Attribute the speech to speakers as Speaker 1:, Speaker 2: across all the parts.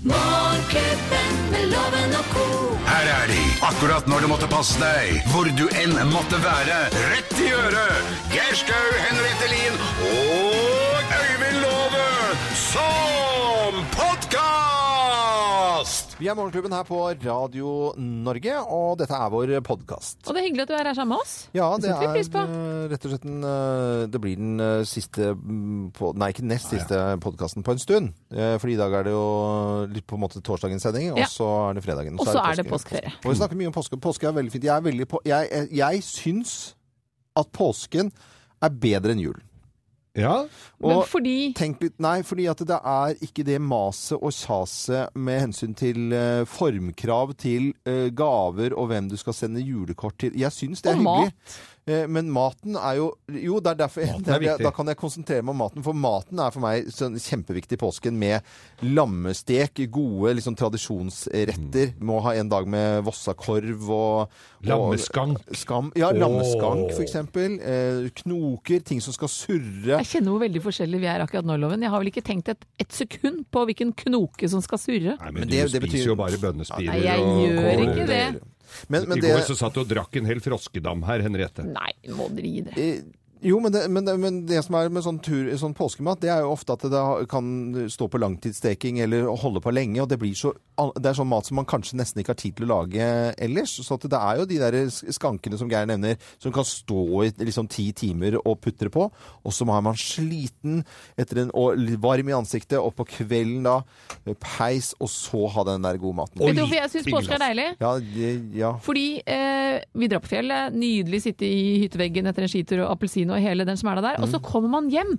Speaker 1: Morgenklubben med loven og ko.
Speaker 2: Her er de, akkurat når du måtte passe deg, hvor du enn måtte være. Rett i øret! Geir Skau, Henriette Lien og Øyvind Låve som podkast!
Speaker 3: Vi er Morgenklubben her på Radio Norge, og dette er vår podkast.
Speaker 4: Og det er hyggelig at du er her sammen med oss.
Speaker 3: Ja, det
Speaker 4: det setter
Speaker 3: er
Speaker 4: vi pris på.
Speaker 3: eh, rett og slett den eh, Det blir den eh, siste mm, på, Nei, ikke nest siste podkasten på en stund. Eh, For i dag er det jo litt på en måte torsdagens sending, og
Speaker 4: Ja.
Speaker 3: så er det fredagen.
Speaker 4: Og så er det påskeferie.
Speaker 3: Og vi snakker mye om påske. Påske er veldig fint. Jeg, er veldig på, jeg, jeg, jeg syns at påsken er bedre enn julen.
Speaker 5: Ja,
Speaker 4: Men
Speaker 3: Og-
Speaker 4: fordi
Speaker 3: Tenk litt, nei, fordi at det er ikke det maset og kjaset med hensyn til eh, formkrav til eh, gaver og hvem du skal sende julekort til. Jeg syns det er
Speaker 4: Og
Speaker 3: hyggelig. Eh, men maten er jo Jo, det er derfor
Speaker 5: Maten er
Speaker 3: det er-
Speaker 5: viktig.
Speaker 3: Da kan jeg konsentrere meg om maten, for maten er for meg sånn kjempeviktig i påsken med lammestek, gode liksom, tradisjonsretter.
Speaker 5: Mm.
Speaker 3: Må ha en dag med vossakorv og og-
Speaker 5: Lammeskank.
Speaker 3: Skam, ja, lammeskank, for eksempel. Eh, knoker, ting som skal surre.
Speaker 4: Jeg kjenner hvor veldig forskjellig vi er akkurat nå, Loven. Jeg har vel ikke tenkt et, et sekund på hvilken knoke som skal surre.
Speaker 5: Nei, men,
Speaker 3: Men det-
Speaker 5: du
Speaker 3: det
Speaker 5: spiser
Speaker 3: betyr-
Speaker 5: jo bare bønnespirer
Speaker 4: Nei, jeg
Speaker 5: og
Speaker 4: gjør
Speaker 5: kål.
Speaker 4: ikke det.
Speaker 3: Men, men
Speaker 5: I
Speaker 3: det,
Speaker 5: går så satt du og drakk en hel froskedam her, Henriette.
Speaker 4: Nei, må dere gi det.
Speaker 3: Eh, Jo, men det, men, det, men det som er med sånn, tur, sånn påskemat, det er jo ofte at det da kan stå på langtidssteking eller holde på lenge, og det, blir så, det er sånn mat som man kanskje nesten ikke har tid til å lage ellers. Så at det er jo de der sk- skankene som Geir nevner, som kan stå i liksom ti timer og putre på, og så er man sliten etter en, og litt varm i ansiktet, og på kvelden da, peis, og så ha den der gode maten.
Speaker 5: Og
Speaker 4: Vet du hvorfor jeg syns
Speaker 5: lite
Speaker 4: påske er
Speaker 5: glass.
Speaker 4: deilig?
Speaker 3: Ja, det- ja.
Speaker 4: Fordi eh, vi drar på fjellet, nydelig sitte i hytteveggen etter en skitur og appelsin og hele den smæla der, og så kommer man hjem.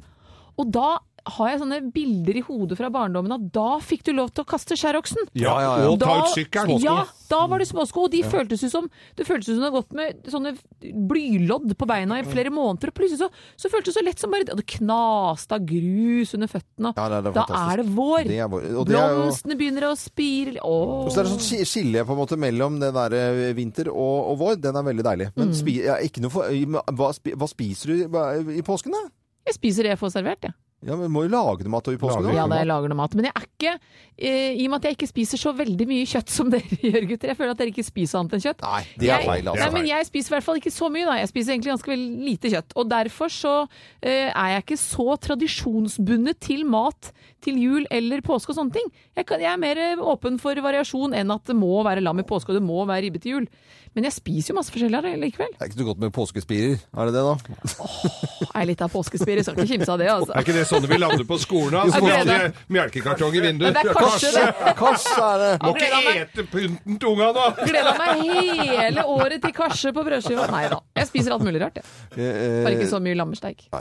Speaker 4: Og da har jeg sånne bilder i hodet fra barndommen at da fikk du lov til å kaste skjæroksen.
Speaker 5: Ja,
Speaker 3: Ja, ja, ja.
Speaker 5: Og ta ut sykkelen.
Speaker 4: Ja, da var det småsko. Og de føltes jo som det føltes ut som du hadde gått med sånne blylodd på beina i flere måneder. Og plutselig så, så føltes det så lett som bare Og det knaste av grus under føttene. og
Speaker 3: Ja, nei, det er
Speaker 4: da
Speaker 3: fantastisk.
Speaker 4: er det vår.
Speaker 3: Det er vår. Og det er jo-
Speaker 4: Blomstene begynner å spire. Åh.
Speaker 3: Og så er det sånn ski- skille på en måte mellom den der eh, vinter og, og vår. Den er veldig deilig.
Speaker 4: Mm.
Speaker 3: Men spi, ja, ikke noe for, hva, spi, hva spiser du i- i påsken, da?
Speaker 4: Jeg spiser det jeg får servert, jeg.
Speaker 3: Ja, men Må jo lage noe mat i påsken. da.
Speaker 5: Lager.
Speaker 4: Ja, da jeg lager noe mat. Men jeg er ikke, eh, i og med at jeg ikke spiser så veldig mye kjøtt som dere gjør, gutter Jeg føler at dere ikke spiser annet enn kjøtt.
Speaker 3: Nei, det er
Speaker 4: Jeg-
Speaker 3: feil, altså.
Speaker 4: Nei, men jeg spiser i hvert fall ikke så mye, da. Jeg spiser egentlig ganske vel lite kjøtt. Og derfor så eh, er jeg ikke så tradisjonsbundet til mat til jul eller påske og sånne ting. Jeg, kan, jeg er mer eh, åpen for variasjon enn at det må være lam i påske og det må være ribbe til jul. Men jeg spiser jo masse forskjellig av det likevel.
Speaker 3: Det er ikke så godt med påskespirer, er det det, da?
Speaker 4: Jeg er litt av påskespirer, skal ikke kimse av det,
Speaker 5: Er
Speaker 4: altså.
Speaker 5: ikke det sånne vi lander på skolen av? Så
Speaker 4: Jo, det er
Speaker 5: kaster melkekartong i
Speaker 4: Men
Speaker 5: vinduet.
Speaker 4: det er kanskje det.
Speaker 3: Kanskje er det
Speaker 5: Må ikke ete pynten til unga, da!
Speaker 4: Gleda meg hele året til karse på brødskiva. Nei da. Jeg spiser alt mulig rart, jeg.
Speaker 3: Eh,
Speaker 4: Bare ikke så mye lammesteik.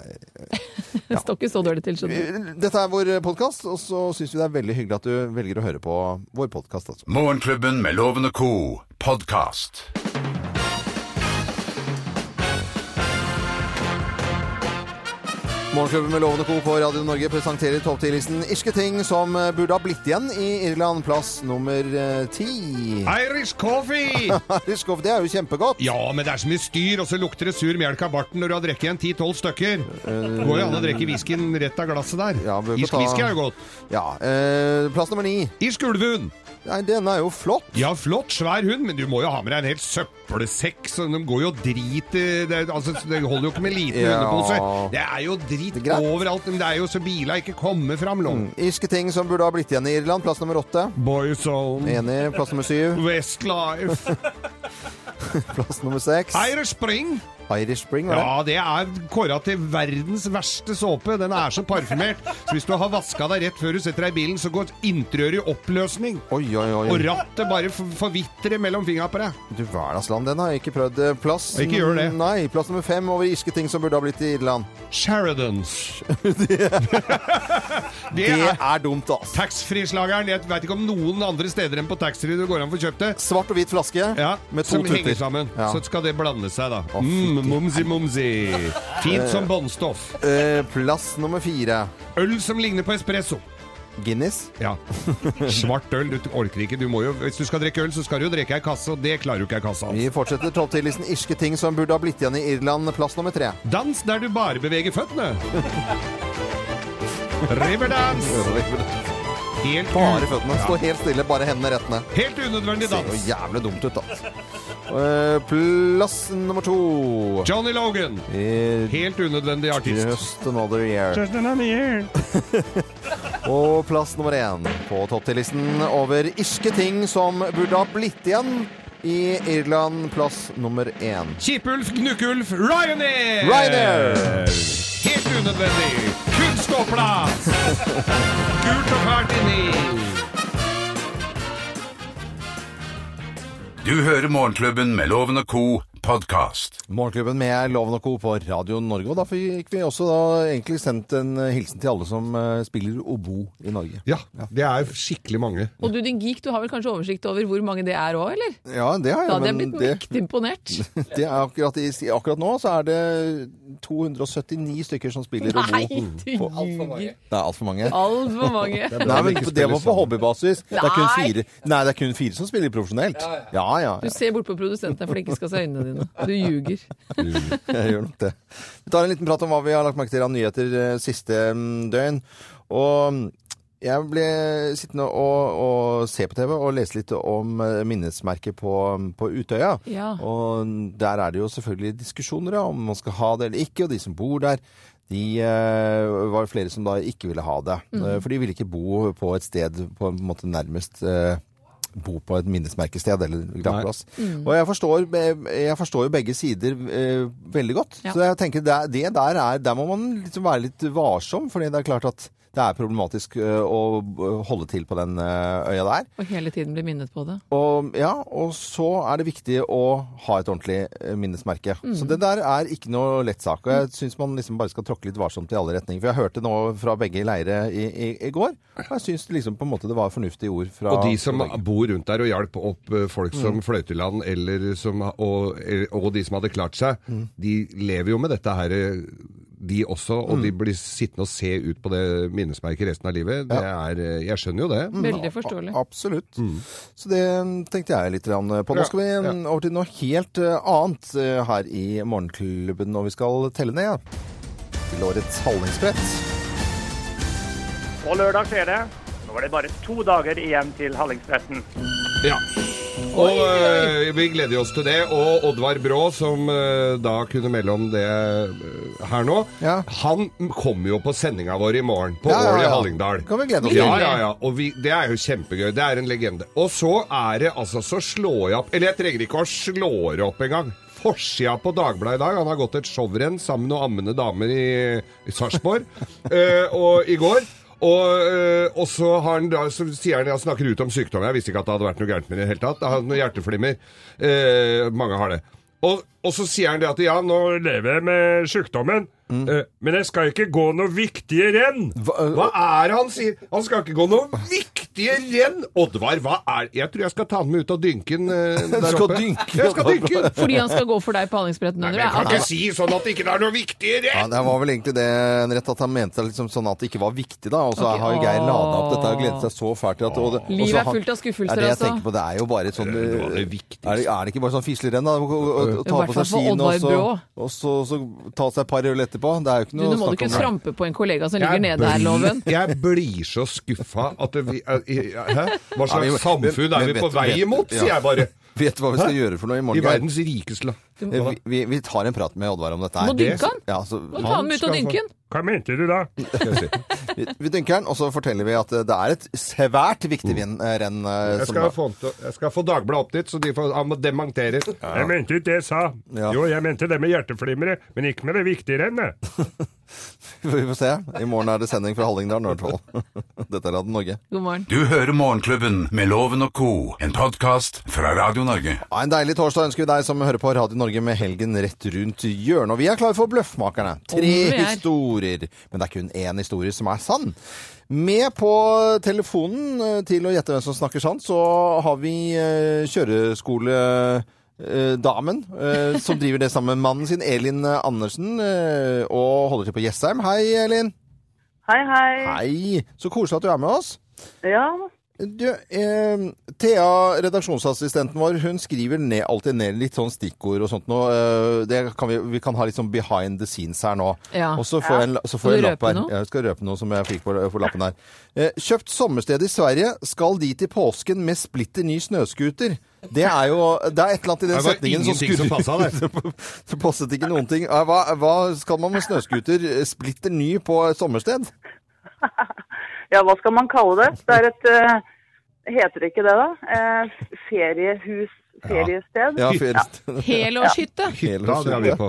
Speaker 4: Jeg står ikke så dårlig til, skjønner du.
Speaker 3: Dette er vår podkast, og så syns vi det er veldig hyggelig at du velger å høre på vår podkast. Altså.
Speaker 2: Morgenklubben med Loven og Co. podkast.
Speaker 3: Morgenklubben med Lovende Co på Radio Norge presenterer topp 10-listen irske ting som eh, burde ha blitt igjen i Irland. Plass nummer eh, ti.
Speaker 5: Irish coffee!
Speaker 3: Irsk off, det er jo kjempegodt.
Speaker 5: Ja, men det er så mye styr, og så lukter det sur melk av barten når du har drukket en 10-12 stykker. Går jo an å drikke whiskyen rett av glasset der.
Speaker 3: Eh, Ja, vi får
Speaker 5: Irsk
Speaker 3: ta-
Speaker 5: whisky er jo godt.
Speaker 3: Ja, eh, plass nummer ni.
Speaker 5: Irsk ulvehund.
Speaker 3: Nei, denne er jo flott.
Speaker 5: Ja, flott, svær hund, men du må jo ha med deg en hel søppelsekk, så de går jo drit i det, altså, så det holder jo ikke med liten
Speaker 3: Ja.
Speaker 5: hundepose. Det er jo drit
Speaker 3: Det er greit.
Speaker 5: overalt, men det er jo så bila ikke kommer fram nå.
Speaker 3: Irske ting som burde ha blitt igjen i Irland. Plass nummer åtte.
Speaker 5: Boyzone,
Speaker 3: Enig. Plass nummer syv.
Speaker 5: Westlife,
Speaker 3: Plass nummer seks.
Speaker 5: Irish Spring.
Speaker 3: Irish Spring, var det?
Speaker 5: Ja, det er kåra til verdens verste såpe. Den er så parfymert. Så hvis du har vaska deg rett før du setter deg i bilen, så går interiøret i oppløsning.
Speaker 3: Oi, oi, oi.
Speaker 5: Og rattet bare f- forvitrer mellom fingra på deg.
Speaker 3: Du verdensland, den har jeg ikke prøvd. Eh, Plass
Speaker 5: Ikke gjør det.
Speaker 3: Nei, plass nummer fem over irske ting som burde ha blitt i Irland.
Speaker 5: Sheridans. Det
Speaker 3: Det
Speaker 5: er
Speaker 3: er dumt, altså.
Speaker 5: Taxfree-slageren. Jeg veit ikke om noen andre steder enn på taxfree du går an for kjøpt det.
Speaker 3: Svart og hvit flaske
Speaker 5: Ja,
Speaker 3: med to
Speaker 5: som henger
Speaker 3: tutter.
Speaker 5: sammen.
Speaker 3: Ja.
Speaker 5: Så skal det blande seg, da.
Speaker 3: Å, fytti.
Speaker 5: Mm, mumsi, mumsi. Fint som båndstoff.
Speaker 3: Eh, plass nummer fire.
Speaker 5: Øl som ligner på espresso.
Speaker 3: Guinness.
Speaker 5: Ja. Svart øl. Du orker ikke. Du må jo, hvis du skal drikke øl, så skal du jo drikke ei kasse, og det klarer du ikke ei kasse av.
Speaker 3: Vi fortsetter topp 10-listen irske ting som burde ha blitt igjen i Irland. Plass nummer tre.
Speaker 5: Dans der du bare beveger føttene. Riverdance. Helt,
Speaker 3: Bare
Speaker 5: u-
Speaker 3: føttene. Stå helt stille, bare hendene rett ned.
Speaker 5: helt unødvendig
Speaker 3: Det ser jo
Speaker 5: dans.
Speaker 3: jævlig dumt ut, da. Eh, Plass nummer to.
Speaker 5: Johnny Logan.
Speaker 3: Eh,
Speaker 5: Helt unødvendig artist.
Speaker 3: Just another year. Og plass nummer én på topp 10-listen over irske ting som burde ha blitt igjen i Irland. Plass nummer én.
Speaker 5: Kjipulf, Gnukkulf, Ryanair!
Speaker 3: Ryanair!
Speaker 5: Helt unødvendig. Kun ståplass! Gult og fælt inni.
Speaker 2: Du hører Morgenklubben med Loven og Co. podkast.
Speaker 3: Morgenklubben med Loven og Co. på Radio Norge. Og da fikk vi også da egentlig sendt en hilsen til alle som eh, spiller obo i Norge.
Speaker 5: Ja, det er skikkelig mange.
Speaker 4: Og du din geek, du har vel kanskje oversikt over hvor mange det er òg, eller?
Speaker 3: Ja, det har jeg,
Speaker 4: Da hadde jeg
Speaker 3: men
Speaker 4: blitt
Speaker 3: det,
Speaker 4: mektig imponert.
Speaker 3: det er akkurat, i, akkurat nå så er det 279 stykker som spiller
Speaker 4: Nei,
Speaker 3: obo.
Speaker 4: du ljuger.
Speaker 3: Det er altfor mange.
Speaker 4: Altfor mange.
Speaker 3: Nei, men
Speaker 5: vi ikke
Speaker 3: Det
Speaker 5: spiller
Speaker 3: var på
Speaker 5: sammen.
Speaker 3: hobbybasis. Det er kun
Speaker 4: Nei.
Speaker 3: fire, nei, det er kun fire som spiller profesjonelt. Ja, ja.
Speaker 4: Du ser bort på produsentene for de ikke skal se øynene dine. Du ljuger.
Speaker 3: Jeg gjør nok det. Vi tar en liten prat om hva vi har lagt merke til av nyheter eh, siste mm, døgn. Og mm, jeg ble sittende og, og se på TV og lese litt om eh, minnesmerket på, på Utøya.
Speaker 4: Ja.
Speaker 3: Og der er det jo selvfølgelig diskusjoner ja, om man skal ha det eller ikke, og de som bor der. De eh, var det flere som da ikke ville ha det. Eh, For de ville ikke bo på et sted på en måte nærmest eh, bo på et minnesmerkested eller gravplass. Og jeg forstår, jeg forstår jo begge sider eh, veldig godt.
Speaker 4: Ja.
Speaker 3: Så jeg tenker det, det der er Der må man liksom være litt varsom, fordi det er klart at det er problematisk eh, å b- holde til på den eh, øya der.
Speaker 4: Og hele tiden blir minnet på det.
Speaker 3: Og, ja, og så er det viktig å ha et ordentlig eh, minnesmerke. Så det der er ikke noe lett sak. Og jeg syns man liksom bare skal tråkke litt varsomt i alle retninger. For jeg hørte nå fra begge leire i, i, i går, og jeg syns liksom på en måte det var fornuftige ord fra
Speaker 5: Og de som
Speaker 3: fra begge.
Speaker 5: bor rundt der og hjalp opp eh, folk som fløyt i land, eller som, og, og de som hadde klart seg, de lever jo med dette her, eh, de også. Og de blir sittende og se ut på det minnesmerket resten av livet. Det er, eh, jeg skjønner jo det.
Speaker 4: Veldig forståelig.
Speaker 3: A- Absolutt. Så det mm, tenkte jeg litt grann på. Nå
Speaker 5: Ja,
Speaker 3: skal vi
Speaker 5: ja.
Speaker 3: mm, over til noe helt eh, annet eh, her i Morgenklubben, og vi skal telle ned ja. til årets hallingsbrett.
Speaker 6: På lørdag skjer det. Nå er det bare to dager igjen til Hallingspressen.
Speaker 5: Ja. Mm. Og eh, vi gleder oss til det. Og Oddvar Brå, som eh, da kunne melde om det eh, her nå,
Speaker 3: Ja.
Speaker 5: han kommer jo på sendinga vår i morgen, på
Speaker 3: Ja, ja,
Speaker 5: Ål i
Speaker 3: ja.
Speaker 5: Hallingdal.
Speaker 3: Kan vi glede oss til.
Speaker 5: ja, ja, ja. Og vi, det er jo kjempegøy. Det er en legende. Og så er det altså Så slår jeg opp Eller jeg trenger ikke å slå det opp engang. Forsida på Dagbladet i dag. Han har gått et showrenn sammen med noen ammende damer i, i Sarpsborg eh, og- i går. Og, eh, og så, har han, da- så sier han, han snakker ut om sykdom. Jeg visste ikke at det hadde vært noe gærent med det i det hele tatt. Han har hjerteflimmer. Eh, mange har det. Og, og så sier han det at ja, nå lever jeg med sykdommen,
Speaker 3: Mm.
Speaker 5: eh, men jeg skal ikke gå noe viktige renn. Hva,
Speaker 3: eh,
Speaker 5: er det han sier? Han skal ikke gå noe viktige renn! Oddvar, hva er Jeg tror jeg skal ta han med ut og dynke han eh, der
Speaker 3: skal
Speaker 5: oppe.
Speaker 3: dynke
Speaker 5: jeg skal
Speaker 3: Oddvar.
Speaker 5: dynke han!
Speaker 4: Fordi han skal gå for deg på Hallingsbretten
Speaker 5: Men
Speaker 4: under.
Speaker 5: jeg kan
Speaker 4: Altså,
Speaker 5: ikke si sånn at det ikke er noe viktige
Speaker 3: Ja,
Speaker 5: renn!
Speaker 3: det var vel egentlig det en rett at han mente liksom sånn at det ikke var viktig, da. Og så
Speaker 4: Ok,
Speaker 3: har jo Geir lada opp dette og
Speaker 4: åh.
Speaker 3: gledet seg så fælt til at og det- og
Speaker 4: Livet
Speaker 3: så
Speaker 4: er
Speaker 3: han-
Speaker 4: fullt av skuffelser,
Speaker 3: er det jeg
Speaker 4: altså.
Speaker 3: tenker på. Det er jo bare sånn
Speaker 5: Det var det viktigste.
Speaker 3: Er det, er det ikke bare sånn fislerenn, da? Å- å- å- Å
Speaker 4: I
Speaker 3: ta
Speaker 4: hvert
Speaker 3: på
Speaker 4: fall
Speaker 3: seg skiene
Speaker 4: for
Speaker 3: og,
Speaker 4: Oddvar Brå.
Speaker 3: så- og så, så ta seg et par øl etterpå. Det er jo ikke
Speaker 4: du,
Speaker 3: noe
Speaker 4: nå må du
Speaker 3: snakk om
Speaker 4: ikke
Speaker 3: det.
Speaker 4: trampe på en kollega som ligger
Speaker 5: Jeg
Speaker 4: nede her,
Speaker 5: blir-
Speaker 4: Loven.
Speaker 5: Jeg blir så skuffa at det, vi, eh, i- Hæ? Hva
Speaker 3: Ja, men-
Speaker 5: slags samfunn
Speaker 3: men-
Speaker 5: er
Speaker 3: men
Speaker 5: vi på
Speaker 3: vet-
Speaker 5: vei
Speaker 3: vet-
Speaker 5: imot, sier
Speaker 3: ja.
Speaker 5: jeg bare.
Speaker 3: Vet du hva vi skal gjøre for noe i morgen?
Speaker 5: I
Speaker 3: Geir?
Speaker 5: verdens rikeste land.
Speaker 3: Eh, Vi, vi, vi tar en prat med Oddvar om dette her.
Speaker 4: Må dynke han?
Speaker 3: Ja, så,
Speaker 4: Må ta ham ut
Speaker 5: skal
Speaker 4: av
Speaker 5: få-
Speaker 4: dynken.
Speaker 6: Hva mente du da?
Speaker 5: skal jeg si.
Speaker 3: vi, vi dynker han, og så forteller vi at eh, det er et svært viktig vin- eh, renn. eh,
Speaker 5: Jeg
Speaker 3: som-
Speaker 5: skal, få, jeg skal få Dagbladet opp dit, så de får han må dementere.
Speaker 6: Jeg mente ikke det jeg sa.
Speaker 3: Ja.
Speaker 6: Jo, jeg mente det med hjerteflimret, men ikke med det viktige rennet.
Speaker 3: Vi får se. I morgen er det sending fra Hallingdal, i hvert fall. Dette er Radio Norge.
Speaker 4: God morgen.
Speaker 2: Du hører Morgenklubben med Loven og Co., en podkast fra Radio Norge.
Speaker 3: Ja, en deilig torsdag ønsker vi deg som hører på Radio Norge med helgen rett rundt hjørnet. Og vi er klare for Bløffmakerne.
Speaker 4: Om
Speaker 3: Tre
Speaker 4: vi er.
Speaker 3: historier, men det er kun én historie som er sann. Med på telefonen eh, til å gjette hvem som snakker sant, så har vi eh, kjøreskole... eh, Damen eh, som driver det sammen med mannen sin, Elin eh, Andersen, eh, og holder til på Jessheim. Hei, Elin.
Speaker 7: Hei, hei.
Speaker 3: Hei. Så koselig at du er med oss.
Speaker 7: Ja,
Speaker 3: Du, eh, Thea, redaksjonsassistenten vår, hun skriver ned, alltid ned litt sånn stikkord og sånt nå. Eh, det kan vi, vi kan ha litt sånn behind the scenes her nå.
Speaker 4: Ja.
Speaker 3: Og så får jeg en, la- så får
Speaker 4: Skal
Speaker 3: jeg
Speaker 4: du
Speaker 3: en lapp
Speaker 4: røpe
Speaker 3: her.
Speaker 4: noe?
Speaker 3: Ja, Jeg skal røpe noe som jeg fikk på, på lappen her. Eh, kjøpt sommersted i Sverige, skal dit i påsken med splitter ny snøskuter. Det er jo Det er et eller annet i den
Speaker 5: Det var
Speaker 3: setningen
Speaker 5: ingenting som passet
Speaker 3: det passet ikke noen ting. Eh, Hva, hva skal man med snøskuter eh, splitter ny på et sommersted?
Speaker 7: Ja, hva skal man kalle det? Det er et eh, Heter det ikke det, da? Eh, feriehus, feriested?
Speaker 3: Ja, fyrst.
Speaker 4: Helårshytte.
Speaker 5: Da drar vi på.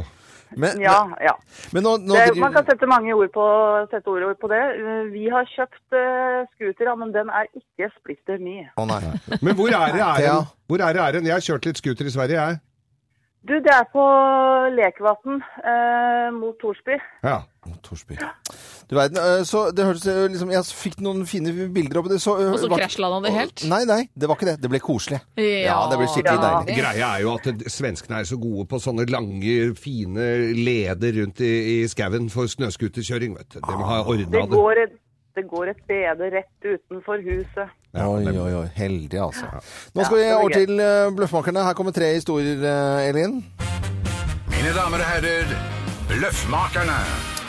Speaker 3: Men,
Speaker 7: Ja, ja.
Speaker 3: men nå, nå
Speaker 7: Det,
Speaker 3: driver-
Speaker 7: man kan sette mange ord på, sette ord på det. Eh, Vi har kjøpt uh, scooter, ja, men den er ikke splitter ny.
Speaker 3: Å nei.
Speaker 5: Men hvor er det
Speaker 3: Thea.
Speaker 5: æren? Hvor er det æren? Jeg har kjørt litt scooter i Sverige, jeg.
Speaker 7: Du, det er på Lekevatn eh, mot Torsby.
Speaker 5: Ja.
Speaker 3: Torsby. Du verden. øh, Så det hørtes øh, liksom Jeg fikk noen fine bilder oppi det, så øh,
Speaker 4: Og så
Speaker 3: var-
Speaker 4: krasjlanda det helt?
Speaker 3: Nei, nei, det var ikke det. Det ble koselig. det ble skikkelig
Speaker 7: Ja.
Speaker 3: deilig.
Speaker 5: Greia er jo at det- svenskene er så gode på sånne lange, fine leder rundt i, i skauen for snøskuterkjøring, vet du. De har
Speaker 7: Det
Speaker 5: ordna det.
Speaker 7: går et, det går et bede rett utenfor huset.
Speaker 3: Oi, oi, oi. Heldig, altså. Nå skal
Speaker 7: Ja,
Speaker 3: vi
Speaker 7: det var
Speaker 3: over
Speaker 7: gøy.
Speaker 3: til øh, Bløffmakerne. Her kommer tre historier, øh, Elin.
Speaker 2: Mine damer og herrer, Løffmakerne.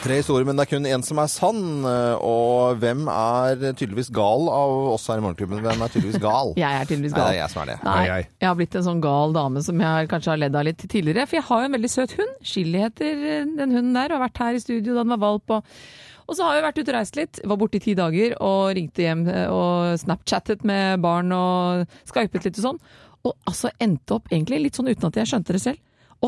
Speaker 3: Tre historier, men det er kun én som er sann. øh, Og hvem er tydeligvis gal av oss her i Morgenklubben? Hvem er tydeligvis gal?
Speaker 4: Jeg er tydeligvis
Speaker 3: Nei,
Speaker 4: gal.
Speaker 3: det er jeg som er det.
Speaker 4: Nei,
Speaker 5: Nei, jeg.
Speaker 4: jeg har blitt en sånn gal dame som jeg kanskje har ledd av litt tidligere. For jeg har jo en veldig søt hund. Chili heter eh, den hunden der, og har vært her i studio da den var valp. Og, og så har vi vært ute og reist litt. Var borte i ti dager og ringte hjem eh, og snapchattet med barn og skypet litt og sånn. Og altså endte opp egentlig litt sånn uten at jeg skjønte det selv, å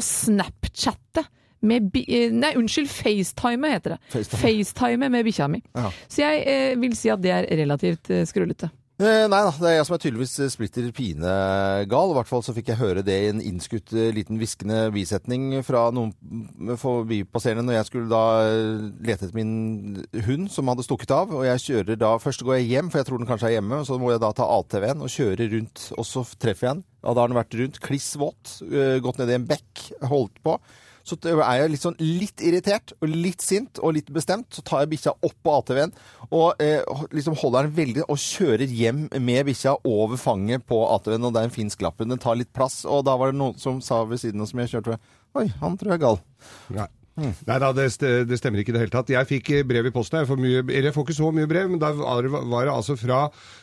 Speaker 4: snapchatte med bi eh, Nei, unnskyld, FaceTime heter det.
Speaker 3: FaceTime.
Speaker 4: FaceTime med bikkja mi.
Speaker 3: Ja.
Speaker 4: Så jeg eh, vil si at det er relativt eh, skrullete.
Speaker 3: Eh, Nei da, det er jeg som er tydeligvis eh, splitter pinegal. I hvert fall så fikk jeg høre det i en innskutt eh, liten hviskende bisetning fra noen mm, forbipasserende når jeg skulle da eh, lete etter min hund som hadde stukket av. Og jeg kjører da Først går jeg hjem, for jeg tror den kanskje er hjemme. og Så må jeg da ta ATV-en og kjøre rundt, og så treffer jeg den. Ja, da har den vært rundt, kliss våt, eh, gått ned i en bekk, holdt på. Så t- er jeg litt sånn litt irritert og litt sint og litt bestemt. Så tar jeg bikkja opp på ATV-en og eh, ho- liksom holder den veldig og kjører hjem med bikkja over fanget på ATV-en. Og det er en finsk lapp. men Den tar litt plass. Og da var det noen som sa ved siden av som jeg kjørte ved. Oi, han tror jeg er gal.
Speaker 5: Nei. Nei da, det, st- det stemmer ikke i det hele tatt. Jeg fikk eh, brev i posten. Jeg får, mye, eller jeg får ikke så mye brev, men da var det, var det altså fra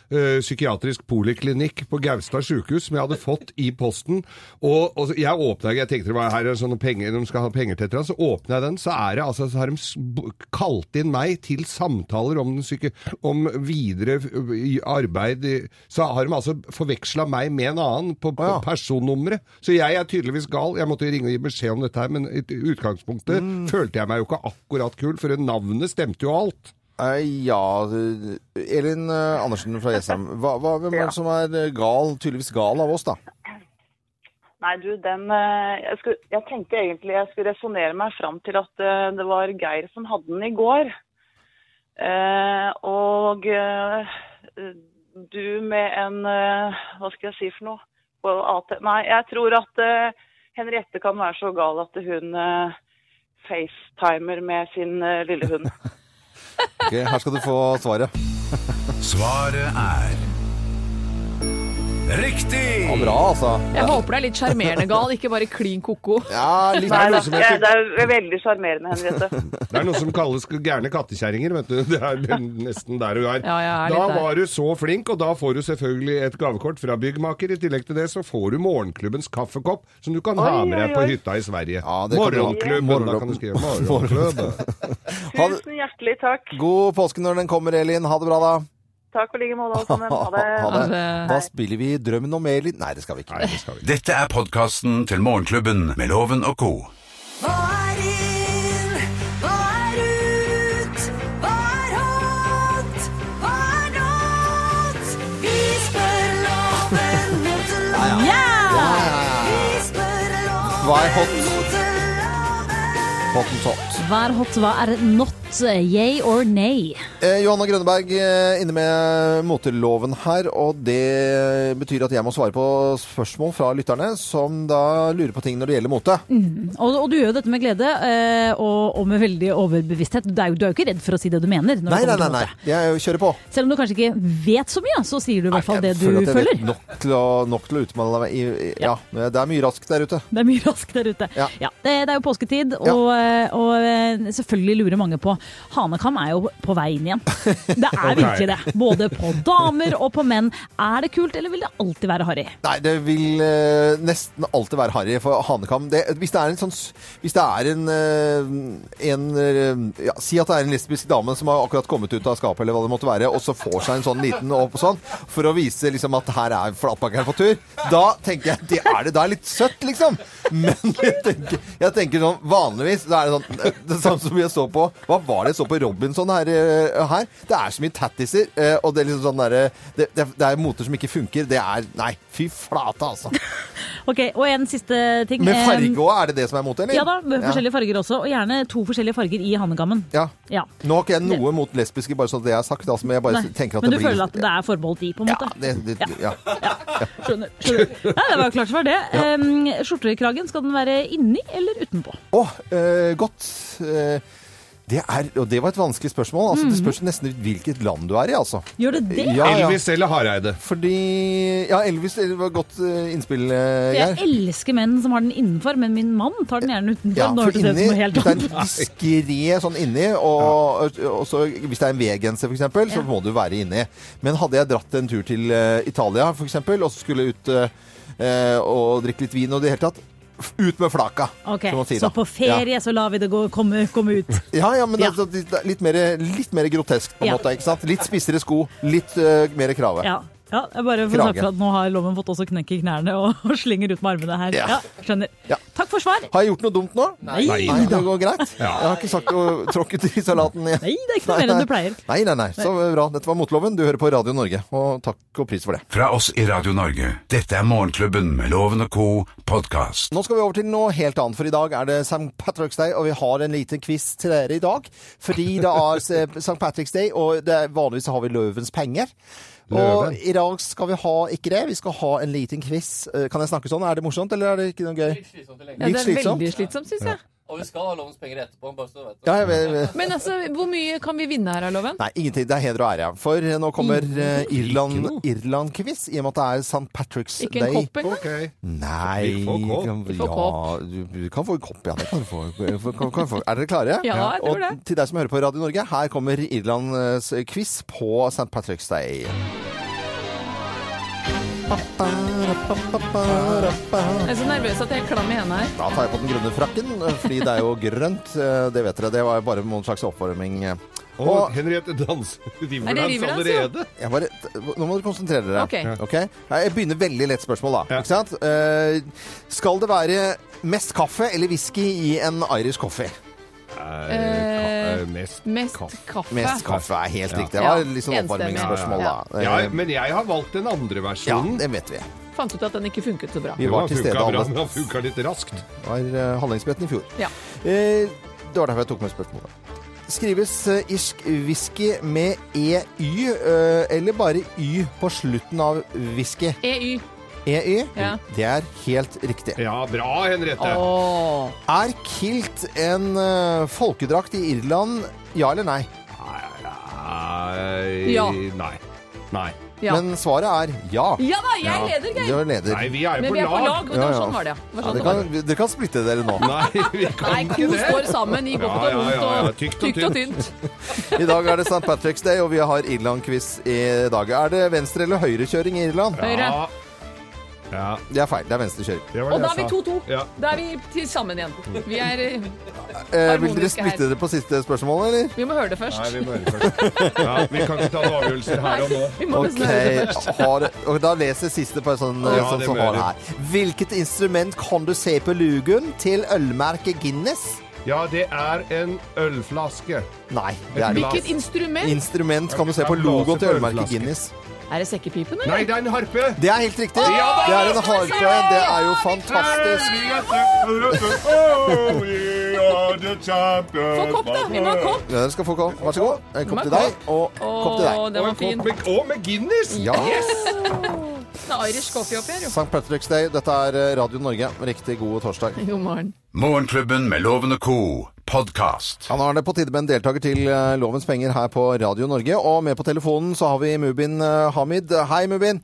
Speaker 5: eh, psykiatrisk poliklinikk på Gaustad sjukehus som jeg hadde fått i posten. Og, og så- jeg åpna Jeg tenkte det var her er sånne penger, de skal ha penger til et eller annet. Så åpna jeg den, så, er det, altså, så har de s- b- kalt inn meg til samtaler om, den psyki om videre f- i arbeid. i- Så har de altså forveksla meg med en annen på, på
Speaker 3: Å ja.
Speaker 5: personnummeret. Så jeg er tydeligvis gal. Jeg måtte jo ringe og gi beskjed om dette her, men i utgangspunktet
Speaker 3: Mm.
Speaker 5: følte jeg meg jo ikke akkurat kul, for navnet stemte jo alt.
Speaker 3: Eh, ja eh, Elin eh, Andersen fra Jessheim. Hva, hva, hvem er det som er eh, gal, tydeligvis gal av oss, da?
Speaker 7: Nei, du, den eh, jeg, skulle, jeg tenkte egentlig jeg skulle resonnere meg fram til at eh, det var Geir som hadde den i går. Eh, og eh, du med en eh, Hva skal jeg si for noe? På AT Nei, jeg tror at eh, Henriette kan være så gal at hun eh, facetimer med sin eh, lille hund.
Speaker 3: Ok, her skal du få svaret.
Speaker 2: Svaret er
Speaker 3: Ja,
Speaker 2: Riktig!
Speaker 3: bra, altså.
Speaker 4: Jeg håper det er litt sjarmerende gal, ikke bare klin koko.
Speaker 3: Ja, litt
Speaker 7: Nei,
Speaker 5: noe
Speaker 7: da,
Speaker 5: som
Speaker 7: det,
Speaker 5: heter-
Speaker 7: det er veldig sjarmerende, Henriette.
Speaker 5: Det er noe som kalles gærne kattekjerringer, vet du. Det er nesten der du er.
Speaker 4: Ja, jeg
Speaker 5: da
Speaker 4: er litt der.
Speaker 5: var du så flink, og da får du selvfølgelig et gavekort fra byggmaker. I tillegg til det så får du morgenklubbens kaffekopp, som du kan ha
Speaker 7: Oi,
Speaker 5: med deg
Speaker 7: oi,
Speaker 5: på
Speaker 7: oi.
Speaker 5: hytta i Sverige.
Speaker 3: Ja, det kan du ha.
Speaker 5: morgenklubben, da kan du skrive. Morgenklubben.
Speaker 3: Ha det-
Speaker 7: Tusen hjertelig takk.
Speaker 3: God påske når den kommer, Elin. Ha det bra, da.
Speaker 7: Takk og like måte, alle sammen. Ha det.
Speaker 4: Ha det.
Speaker 3: Da spiller vi Drømmen om Elin. Nei, det skal vi ikke.
Speaker 5: Nei, det skal vi ikke.
Speaker 2: Dette er podkasten til Morgenklubben med Loven og co.
Speaker 1: Hva er inn? Hva er ut? Hva er hot? Hva er not? Vi spør loven mot loven. Vi spør loven
Speaker 3: Hva er hot?
Speaker 1: mot loven.
Speaker 3: Hottentott.
Speaker 8: Hva er hot, hva er not? Så det er yay or nay.
Speaker 3: Eh, Johanna Grønneberg eh, inne med moteloven her, og det betyr at jeg må svare på spørsmål fra lytterne som da lurer på ting når det gjelder mote.
Speaker 8: Og, og du gjør jo dette med glede eh, og, og med veldig overbevissthet. Du er, jo, du er jo ikke redd for å si det du mener. Når
Speaker 3: Nei,
Speaker 8: det
Speaker 3: nei,
Speaker 8: kommer
Speaker 3: nei.
Speaker 8: til
Speaker 3: nei.
Speaker 8: mote.
Speaker 3: Jeg kjører på.
Speaker 8: Selv om du kanskje ikke vet så mye, så sier du i hvert fall det
Speaker 3: Jeg
Speaker 8: du
Speaker 3: føler at jeg
Speaker 8: føler.
Speaker 3: vet Nok til å, nok til å utmelde meg. i- i- Ja. det er mye raskt der ute.
Speaker 8: Det er mye raskt der ute.
Speaker 3: Ja.
Speaker 8: det, det er jo påsketid, og, og, eh, selvfølgelig lurer mange på Hanekam er jo på vei inn igjen. Det er virkelig det. Både på damer og på menn. Er det kult, eller vil det alltid være harry?
Speaker 3: Nei, det vil eh, nesten alltid være harry for hanekam. Det, hvis det er en sånn s- Hvis det er en, eh, en eh, ja, Si at det er en lesbisk dame som har akkurat kommet ut av skapet, eller hva det måtte være, og så får seg en sånn liten opp og sånn, for å vise liksom at her er flatpakkeren på tur. Da tenker jeg det er det. Da er det litt søtt, liksom. Men jeg tenker, jeg tenker sånn vanligvis Da er det sånn eh, Det samme som jeg så på Hva var det jeg så på Robinson her? eh, her? Det er så mye tattiser, eh, og det er liksom sånn derre det, det, det er moter som ikke funker. Det er Nei, fy flate, altså.
Speaker 8: Ok, Og en siste ting.
Speaker 3: Med farge
Speaker 8: Eh,
Speaker 3: òg, er det det som er mote, eller?
Speaker 8: Ja da, med forskjellige farger også. Og gjerne to forskjellige farger i hanekammen.
Speaker 3: Ja.
Speaker 8: Ja.
Speaker 3: Nå har ikke jeg noe mot lesbiske, bare sånn at det er sagt. Altså, men jeg bare
Speaker 8: Nei,
Speaker 3: tenker at
Speaker 8: Men du
Speaker 3: det blir
Speaker 8: føler at det er forbeholdt de, på en
Speaker 3: ja,
Speaker 8: måte?
Speaker 3: det, det, ja.
Speaker 8: Skjønner. skjønner. Nei, det var jo klart svar, det. Um, Skjortekragen, skal den være inni eller utenpå?
Speaker 3: Å, eh, godt. Eh, det er, og det var et vanskelig spørsmål. Altså,
Speaker 8: Mm.
Speaker 3: Det spørs nesten hvilket land du er i, altså.
Speaker 8: Gjør det det?
Speaker 3: Ja, ja.
Speaker 5: Elvis eller Hareide?
Speaker 3: Fordi Ja, Elvis det var et godt eh, innspill, eh,
Speaker 8: Jeg
Speaker 3: Geir.
Speaker 8: elsker menn som har den innenfor, men min mann tar den gjerne utenfor.
Speaker 3: Ja,
Speaker 8: Nå
Speaker 3: for
Speaker 8: hørtes det ut
Speaker 3: inni,
Speaker 8: som noe helt
Speaker 3: det er en
Speaker 8: annet.
Speaker 3: diskré sånn inni, og, og så, hvis det er en V-genser f.eks., så må du være inni. Men hadde jeg dratt en tur til eh, Italia f.eks., og så skulle ut eh, eh, og drikke litt vin og det hele tatt, f- ut med flaka,
Speaker 8: Ok,
Speaker 3: som man sier.
Speaker 8: Så
Speaker 3: da.
Speaker 8: på ferie så lar vi det gå, komme, komme ut.
Speaker 3: Ja, ja, ja men
Speaker 8: Ja.
Speaker 3: altså, det er litt, mer, litt mer grotesk på en
Speaker 8: Ja.
Speaker 3: måte, ikke sant? Litt spissere sko, litt eh, mer krave.
Speaker 8: Ja. Ja, jeg bare får
Speaker 3: Kragen.
Speaker 8: snakke for at nå har loven fått også knekke knærne og, og slinger ut med armene her.
Speaker 3: Ja.
Speaker 8: Ja, skjønner.
Speaker 3: Ja.
Speaker 8: Takk for svar.
Speaker 3: Har jeg gjort noe dumt nå?
Speaker 8: Nei, nei,
Speaker 3: Nei, det går greit. Jeg har ikke sagt å tråkket i salaten. igjen.
Speaker 8: det er ikke noe mer enn du pleier.
Speaker 3: Nei, nei, nei. Så bra. Dette var Motloven. Du hører på Radio Norge, og takk og pris for det.
Speaker 2: Fra oss i Radio Norge. Dette er Morgenklubben med Loven og co. podkast.
Speaker 3: Nå skal vi over til noe helt annet, for i dag er det St. Patrick's Day, og vi har en liten quiz til dere i dag. Fordi det er St. Patrick's Day, og det er, vanligvis har vi løvens penger. Og
Speaker 5: Løven.
Speaker 3: i dag skal vi ha ikke det, vi skal ha en liten quiz. Eh, Kan jeg snakke sånn? Er det morsomt, eller er det ikke noe gøy?
Speaker 4: Ja, det
Speaker 3: Litt
Speaker 4: er
Speaker 3: slitsomt.
Speaker 4: veldig slitsomt, syns jeg.
Speaker 9: Og vi skal ha lovens penger etterpå. bare så du vet det.
Speaker 3: Ja, jeg, vet- vet-
Speaker 4: Men altså, hvor mye kan vi vinne her av loven?
Speaker 3: Nei, ingenting. Det er heder og ære. ja. For eh, nå kommer
Speaker 4: Mm.
Speaker 3: eh, Irland- Irland-quiz, i og med at det er St. Patrick's Day.
Speaker 4: Ikke en kopp engang?
Speaker 5: Ok.
Speaker 3: Mm. Nei
Speaker 5: Vi får kopp.
Speaker 3: kan-
Speaker 4: får
Speaker 3: ja, du, du kan få kopp, ja. Det kan du få. Eh, Kan, kan du få. Er dere klare?
Speaker 4: Ja, jeg tror det.
Speaker 3: Og til deg som hører på Radio Norge, her kommer Irlands eh, quiz på St. Patrick's Day.
Speaker 4: Jeg er så nervøs at jeg er klam i hendene her.
Speaker 3: Da tar jeg på den grønne frakken, eh, fordi det er jo grønt. eh, Det vet dere. Det var bare noen slags oppvarming. eh,
Speaker 5: Og Henriette danser Riverdance
Speaker 4: Riverdance,
Speaker 5: allerede.
Speaker 3: Jeg bare, nå må dere konsentrere dere.
Speaker 4: Ok. Ja.
Speaker 3: Ok? Jeg begynner veldig lett spørsmål, da.
Speaker 5: Ja.
Speaker 3: Ikke sant? Eh, skal det være mest kaffe eller whisky i en Irish coffee?
Speaker 5: Eh, ka- eh, mest
Speaker 4: Mest
Speaker 5: kaffe.
Speaker 4: kaffe.
Speaker 3: Mest kaffe er helt
Speaker 5: Ja.
Speaker 3: riktig. Det var
Speaker 4: Ja,
Speaker 3: litt sånn
Speaker 4: enstemmig.
Speaker 3: oppvarmingsspørsmål,
Speaker 4: Ja,
Speaker 3: da.
Speaker 5: Ja,
Speaker 3: Eh,
Speaker 5: men jeg har valgt den andre
Speaker 3: ja,
Speaker 5: versjonen.
Speaker 3: det vet vi.
Speaker 4: Fant ut at den ikke funket så bra.
Speaker 3: Vi
Speaker 5: Jo,
Speaker 3: var
Speaker 5: han
Speaker 3: til
Speaker 5: funka
Speaker 3: stede
Speaker 5: bra, men
Speaker 3: alle.
Speaker 5: han funka litt raskt.
Speaker 3: Det var eh, Hallingsbretten i fjor.
Speaker 4: Ja.
Speaker 3: Eh, det var derfor jeg tok med spørsmålet. Skrives eh, irsk whisky med EY eh, eller bare Y på slutten av whisky?
Speaker 4: EY.
Speaker 3: EY?
Speaker 4: Ja.
Speaker 3: Det er helt riktig.
Speaker 5: Ja, bra, Henriette.
Speaker 4: Åh.
Speaker 3: Er kilt en eh, folkedrakt i Irland? Ja eller nei?
Speaker 5: Nei,
Speaker 4: Ja.
Speaker 5: Nei. Nei.
Speaker 4: Ja.
Speaker 3: Men svaret er ja.
Speaker 4: Ja da, jeg leder, Geir!
Speaker 3: Du er leder.
Speaker 5: Nei, vi er jo
Speaker 4: Men vi
Speaker 5: på
Speaker 4: er på lag,
Speaker 5: lag.
Speaker 4: og det var
Speaker 3: Ja, ja.
Speaker 4: sånn var det, ja. Det
Speaker 3: Ja,
Speaker 4: var sånn
Speaker 3: dere,
Speaker 4: det var.
Speaker 3: kan, dere kan splitte dere nå.
Speaker 5: Nei, vi
Speaker 4: Nei,
Speaker 5: kan
Speaker 4: to
Speaker 5: ikke
Speaker 4: står
Speaker 5: det.
Speaker 4: sammen i godt
Speaker 5: Ja,
Speaker 4: og
Speaker 5: ja,
Speaker 4: vondt
Speaker 5: ja, ja.
Speaker 4: og
Speaker 5: Tykt og
Speaker 4: tykt og tynt.
Speaker 3: I dag er det St. Patrick's Day, og vi har Irland-quiz i dag. Er det venstre- eller høyrekjøring i Irland?
Speaker 4: Høyre.
Speaker 5: Ja. Ja,
Speaker 3: Det er feil. Det er venstrekjøring.
Speaker 5: det var
Speaker 4: Og
Speaker 5: det
Speaker 4: da
Speaker 5: jeg
Speaker 4: er vi
Speaker 5: sa.
Speaker 4: 2-2.
Speaker 5: Ja.
Speaker 4: Da er vi til sammen igjen. Vi, er,
Speaker 3: Eh, vil dere
Speaker 4: Harmoniske her.
Speaker 3: splitte dere på siste spørsmål, eller?
Speaker 4: vi må høre det
Speaker 5: Nei,
Speaker 4: først.
Speaker 5: vi må høre først. Ja, vi kan ikke ta noen avgjørelser her og nå.
Speaker 4: Vi må
Speaker 3: Ok,
Speaker 4: nesten høre det først.
Speaker 3: har, og da leser jeg siste på en sånn,
Speaker 5: Ja,
Speaker 3: sånn
Speaker 5: det
Speaker 3: som
Speaker 5: må
Speaker 3: har
Speaker 5: jeg.
Speaker 3: her. Hvilket instrument kan du se på lugen til ølmerket Guinness?
Speaker 5: Ja, det er en ølflaske.
Speaker 3: Nei, det er det ikke.
Speaker 4: Hvilket instrument?
Speaker 3: Instrument kan du se på
Speaker 5: Jeg
Speaker 3: logoen
Speaker 5: blåser på
Speaker 3: til ølmerket
Speaker 5: ølflaske.
Speaker 3: Guinness.
Speaker 4: Er det sekkepipen,
Speaker 5: Nei,
Speaker 4: eller?
Speaker 5: det er en harpe!
Speaker 3: Det er helt riktig. Det er en harpe. Det er jo fantastisk.
Speaker 5: Fantastisk!
Speaker 4: Få kopp, da! Vi må ha kopp!
Speaker 3: Ja, dere skal få kopp. Vær så god. En kopp til deg, og kopp til
Speaker 4: Å,
Speaker 3: deg.
Speaker 5: Og
Speaker 4: den var
Speaker 5: en
Speaker 4: fin.
Speaker 5: kopp med, og med Guinness!
Speaker 3: Ja.
Speaker 4: Det er Irish coffee oppi her, jo.
Speaker 3: St. Patrick's Day. Dette er eh, Radio Norge. Riktig god torsdag.
Speaker 4: God morgen.
Speaker 2: Morgenklubben med Loven og Co. Podcast.
Speaker 3: Ja, nå er det på tide med en deltaker til eh, Lovens penger her på Radio Norge. Og med på telefonen så har vi Mubin eh, Hamid. Hei, Mubin.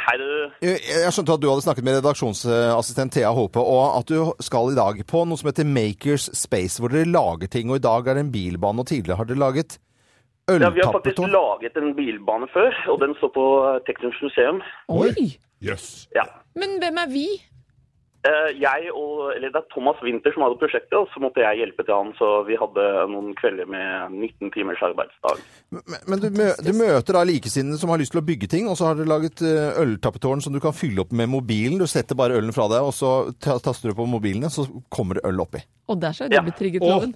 Speaker 10: Hei, du.
Speaker 3: Jeg jeg skjønte at du hadde snakket med redaksjonsassistent Thea Håpe, og at du skal i dag på noe som heter Makers Space, hvor dere lager ting. Og i dag er det en bilbane, og tidligere har dere laget
Speaker 10: Ja, vi har faktisk
Speaker 3: øltappeton.
Speaker 10: laget en bilbane før, og den står på eh, Teknisk museum.
Speaker 4: Oi!
Speaker 5: Jøss.
Speaker 10: Ja.
Speaker 4: Men hvem er vi?
Speaker 10: Eh, Jeg og, eller Det er Thomas Winther som hadde prosjektet, og så måtte jeg hjelpe til han. Så vi hadde noen kvelder med 19 timers arbeidsdag.
Speaker 3: Men- Men du, mø du møter da likesinnede som har lyst til å bygge ting, og så har dere laget eh, øltappetårn som du kan fylle opp med mobilen. Du setter bare ølen fra deg, og så ta- taster du på mobilene, så kommer det øl oppi.
Speaker 4: Å, der så jeg
Speaker 10: Ja.
Speaker 4: du ble trigget,
Speaker 5: Å.
Speaker 4: Loven.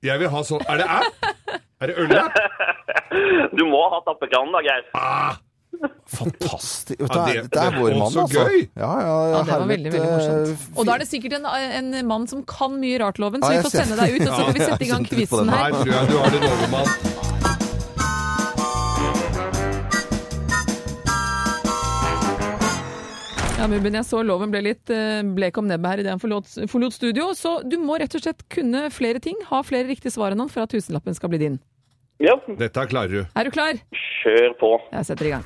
Speaker 5: Jeg vil ha sånn Er det app? Er det ølapp?
Speaker 10: Du må ha tappekranen, da, Geir.
Speaker 3: Fantastisk. Vet du,
Speaker 5: Ja,
Speaker 3: det,
Speaker 5: det-
Speaker 3: er- det er
Speaker 5: det-
Speaker 3: vår
Speaker 5: å,
Speaker 3: mann,
Speaker 5: så
Speaker 3: altså.
Speaker 5: gøy.
Speaker 3: Ja, ja,
Speaker 4: Ja, det var
Speaker 3: herlig,
Speaker 4: veldig, veldig morsomt.
Speaker 3: eh,
Speaker 4: Og da er det sikkert en, en mann som kan mye rart, Loven, så
Speaker 3: Ja,
Speaker 4: vi
Speaker 3: jeg
Speaker 4: får
Speaker 3: ser-
Speaker 4: sende deg ut, og så får vi sette i gang
Speaker 3: jeg kjente litt på
Speaker 4: quizen
Speaker 3: den.
Speaker 5: Her
Speaker 4: her.
Speaker 5: tror jeg du har det lovemann.
Speaker 4: Ja, Mubin, jeg så Loven ble litt eh, blek om nebbet her idet han forlot, forlot studio, så du må rett og slett kunne flere ting, ha flere riktige svar enn han for at tusenlappen skal bli din.
Speaker 10: Ja,
Speaker 5: Dette klarer du.
Speaker 4: Er du klar?
Speaker 10: kjør på.
Speaker 4: Jeg setter i gang.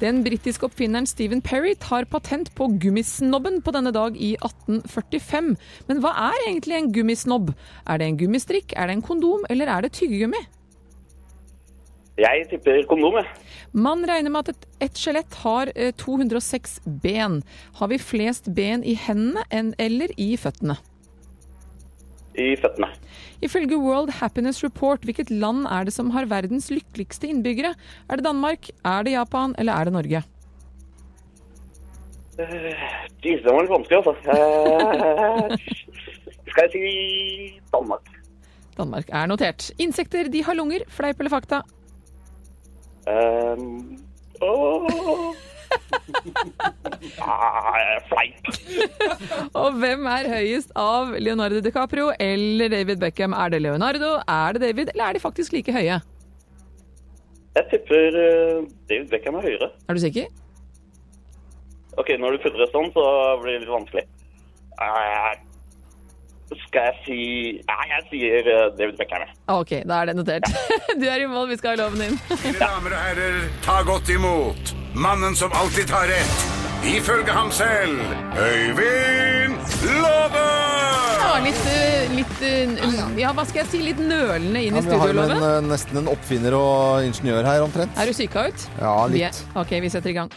Speaker 4: Den britiske oppfinneren Stephen Perry tar patent på gummisnobben på denne dag i 1845. Men hva er egentlig en gummisnobb? Er det en gummistrikk, er det en kondom, eller er det tyggegummi?
Speaker 10: Jeg tipper kondom, jeg.
Speaker 4: Man regner med at et, et skjelett har eh, 206 ben. Har vi flest ben i hendene enn eller i føttene?
Speaker 10: I føttene.
Speaker 4: Ifølge World Happiness Report, hvilket land er det som har verdens lykkeligste innbyggere? Er det Danmark, er det Japan, eller er det Norge?
Speaker 10: Jesus, den var litt vanskelig, altså. Eh, Skal jeg si Danmark?
Speaker 4: Danmark er notert. Insekter, de har lunger. Fleip eller fakta?
Speaker 10: Eh, åh. Ah, Fleip.
Speaker 4: Og hvem er høyest av Leonardo DiCaprio eller David Beckham? Er det Leonardo, er det David, eller er de faktisk like høye?
Speaker 10: Jeg tipper eh, David Beckham er høyere.
Speaker 4: Er du sikker?
Speaker 10: Ok, når du putter det sånn, så blir det litt vanskelig. Eh, skal jeg si Nei, jeg sier eh, David Beckham. jeg.
Speaker 4: Ah, Ok, da er det notert. Du er i mål, vi skal ha loven din.
Speaker 2: Mine damer og herrer, ta godt imot mannen som alltid tar rett, ifølge ham selv, Øyvind Låve!
Speaker 4: Ja, litt, eh, litt eh, Ja, hva skal jeg si? Litt nølende inn
Speaker 3: Ja,
Speaker 4: i
Speaker 3: men vi har jo en,
Speaker 4: studioloven.
Speaker 3: eh, nesten en oppfinner og ingeniør her, omtrent.
Speaker 4: Er du syka ut?
Speaker 3: Ja,
Speaker 4: Vi
Speaker 3: litt.
Speaker 4: er- Ok, vi setter i gang.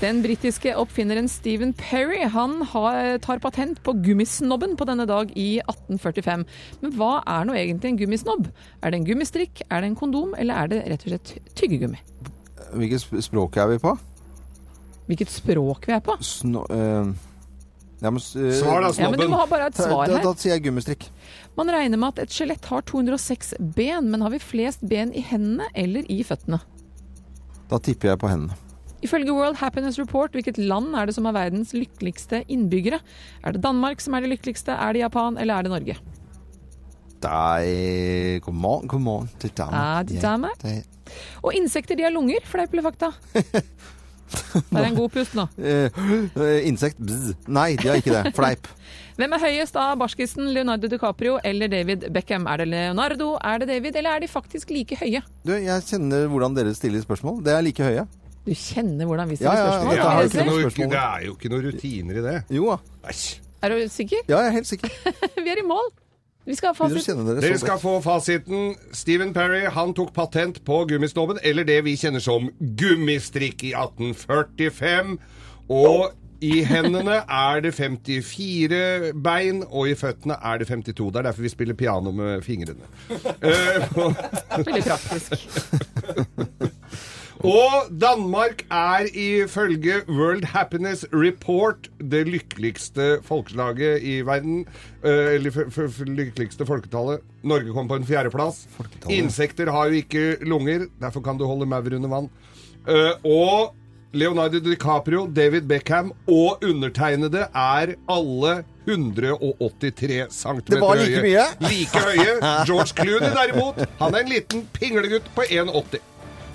Speaker 4: Den britiske oppfinneren Stephen Perry han har, tar patent på gummisnobben på denne dag i 1845. Men hva er nå egentlig en gummisnobb? Er det en gummistrikk, er det en kondom, eller er det rett og slett tyggegummi?
Speaker 3: Hvilket sp- språk er vi på?
Speaker 4: Hvilket språk vi er på?
Speaker 3: Sno... eh, ja, men, s- eh,
Speaker 5: Svar da,
Speaker 4: Ja, men Du
Speaker 5: snobben.
Speaker 4: må ha bare et svar
Speaker 3: da, da,
Speaker 4: her.
Speaker 3: sier jeg gummistrikk.
Speaker 4: Man regner med at et skjelett har 206 ben, men har vi flest ben i hendene eller i føttene?
Speaker 3: Da tipper jeg på hendene.
Speaker 4: Ifølge World Happiness Report, hvilket land er det som er verdens lykkeligste innbyggere? Er det Danmark som er det lykkeligste, er det Japan, eller er det Norge?
Speaker 3: Dei Come on, come on. Til damen.
Speaker 4: Ah, til damen.
Speaker 3: Ja, det-
Speaker 4: Og insekter, de har lunger, fleip eller fakta? Det er en god pust nå.
Speaker 3: Eh, eh, insekt bzz. Nei, de har ikke det. Fleip.
Speaker 4: Hvem er høyest av barskisen Leonardo DiCaprio eller David Beckham? Er det Leonardo, er det David, eller er de faktisk like høye?
Speaker 3: Du, jeg kjenner hvordan dere stiller spørsmål. Det er like høye.
Speaker 4: Du kjenner hvordan
Speaker 3: Ja,
Speaker 4: vi stiller
Speaker 3: ja,
Speaker 5: Det
Speaker 4: spørsmål.
Speaker 3: ja,
Speaker 5: er, jo
Speaker 4: Kan
Speaker 3: har
Speaker 4: dere
Speaker 5: ikke
Speaker 3: noe-
Speaker 4: se?
Speaker 5: noe, det er jo ikke noen rutiner i det.
Speaker 3: Jo da.
Speaker 5: Æsj.
Speaker 4: Er du sikker?
Speaker 3: Ja, jeg er helt sikker.
Speaker 4: Vi er i mål. Vi skal ha
Speaker 3: Begynner å
Speaker 4: fasit.
Speaker 3: kjenne dere
Speaker 5: Dere
Speaker 3: så
Speaker 5: skal
Speaker 3: godt.
Speaker 5: få fasiten. Stephen Perry han tok patent på gummisnobben, eller det vi kjenner som gummistrikk, i 1845. Og i hendene er det 54 bein, og i føttene er det 52. Det er derfor vi spiller piano med fingrene. Eh,
Speaker 4: Veldig praktisk.
Speaker 5: og Danmark er ifølge World Happiness Report det lykkeligste folkeslaget i verden. eh, Eller f- f- f- lykkeligste folketallet. Norge kom på en fjerdeplass. Insekter har jo ikke lunger, derfor kan du holde maur under vann. Eh, og Leonardo DiCaprio, David Beckham og undertegnede er alle 183 cm høye.
Speaker 3: Det var like mye.
Speaker 5: Like høye. George Clooney derimot, han er en liten pinglegutt på 1,80.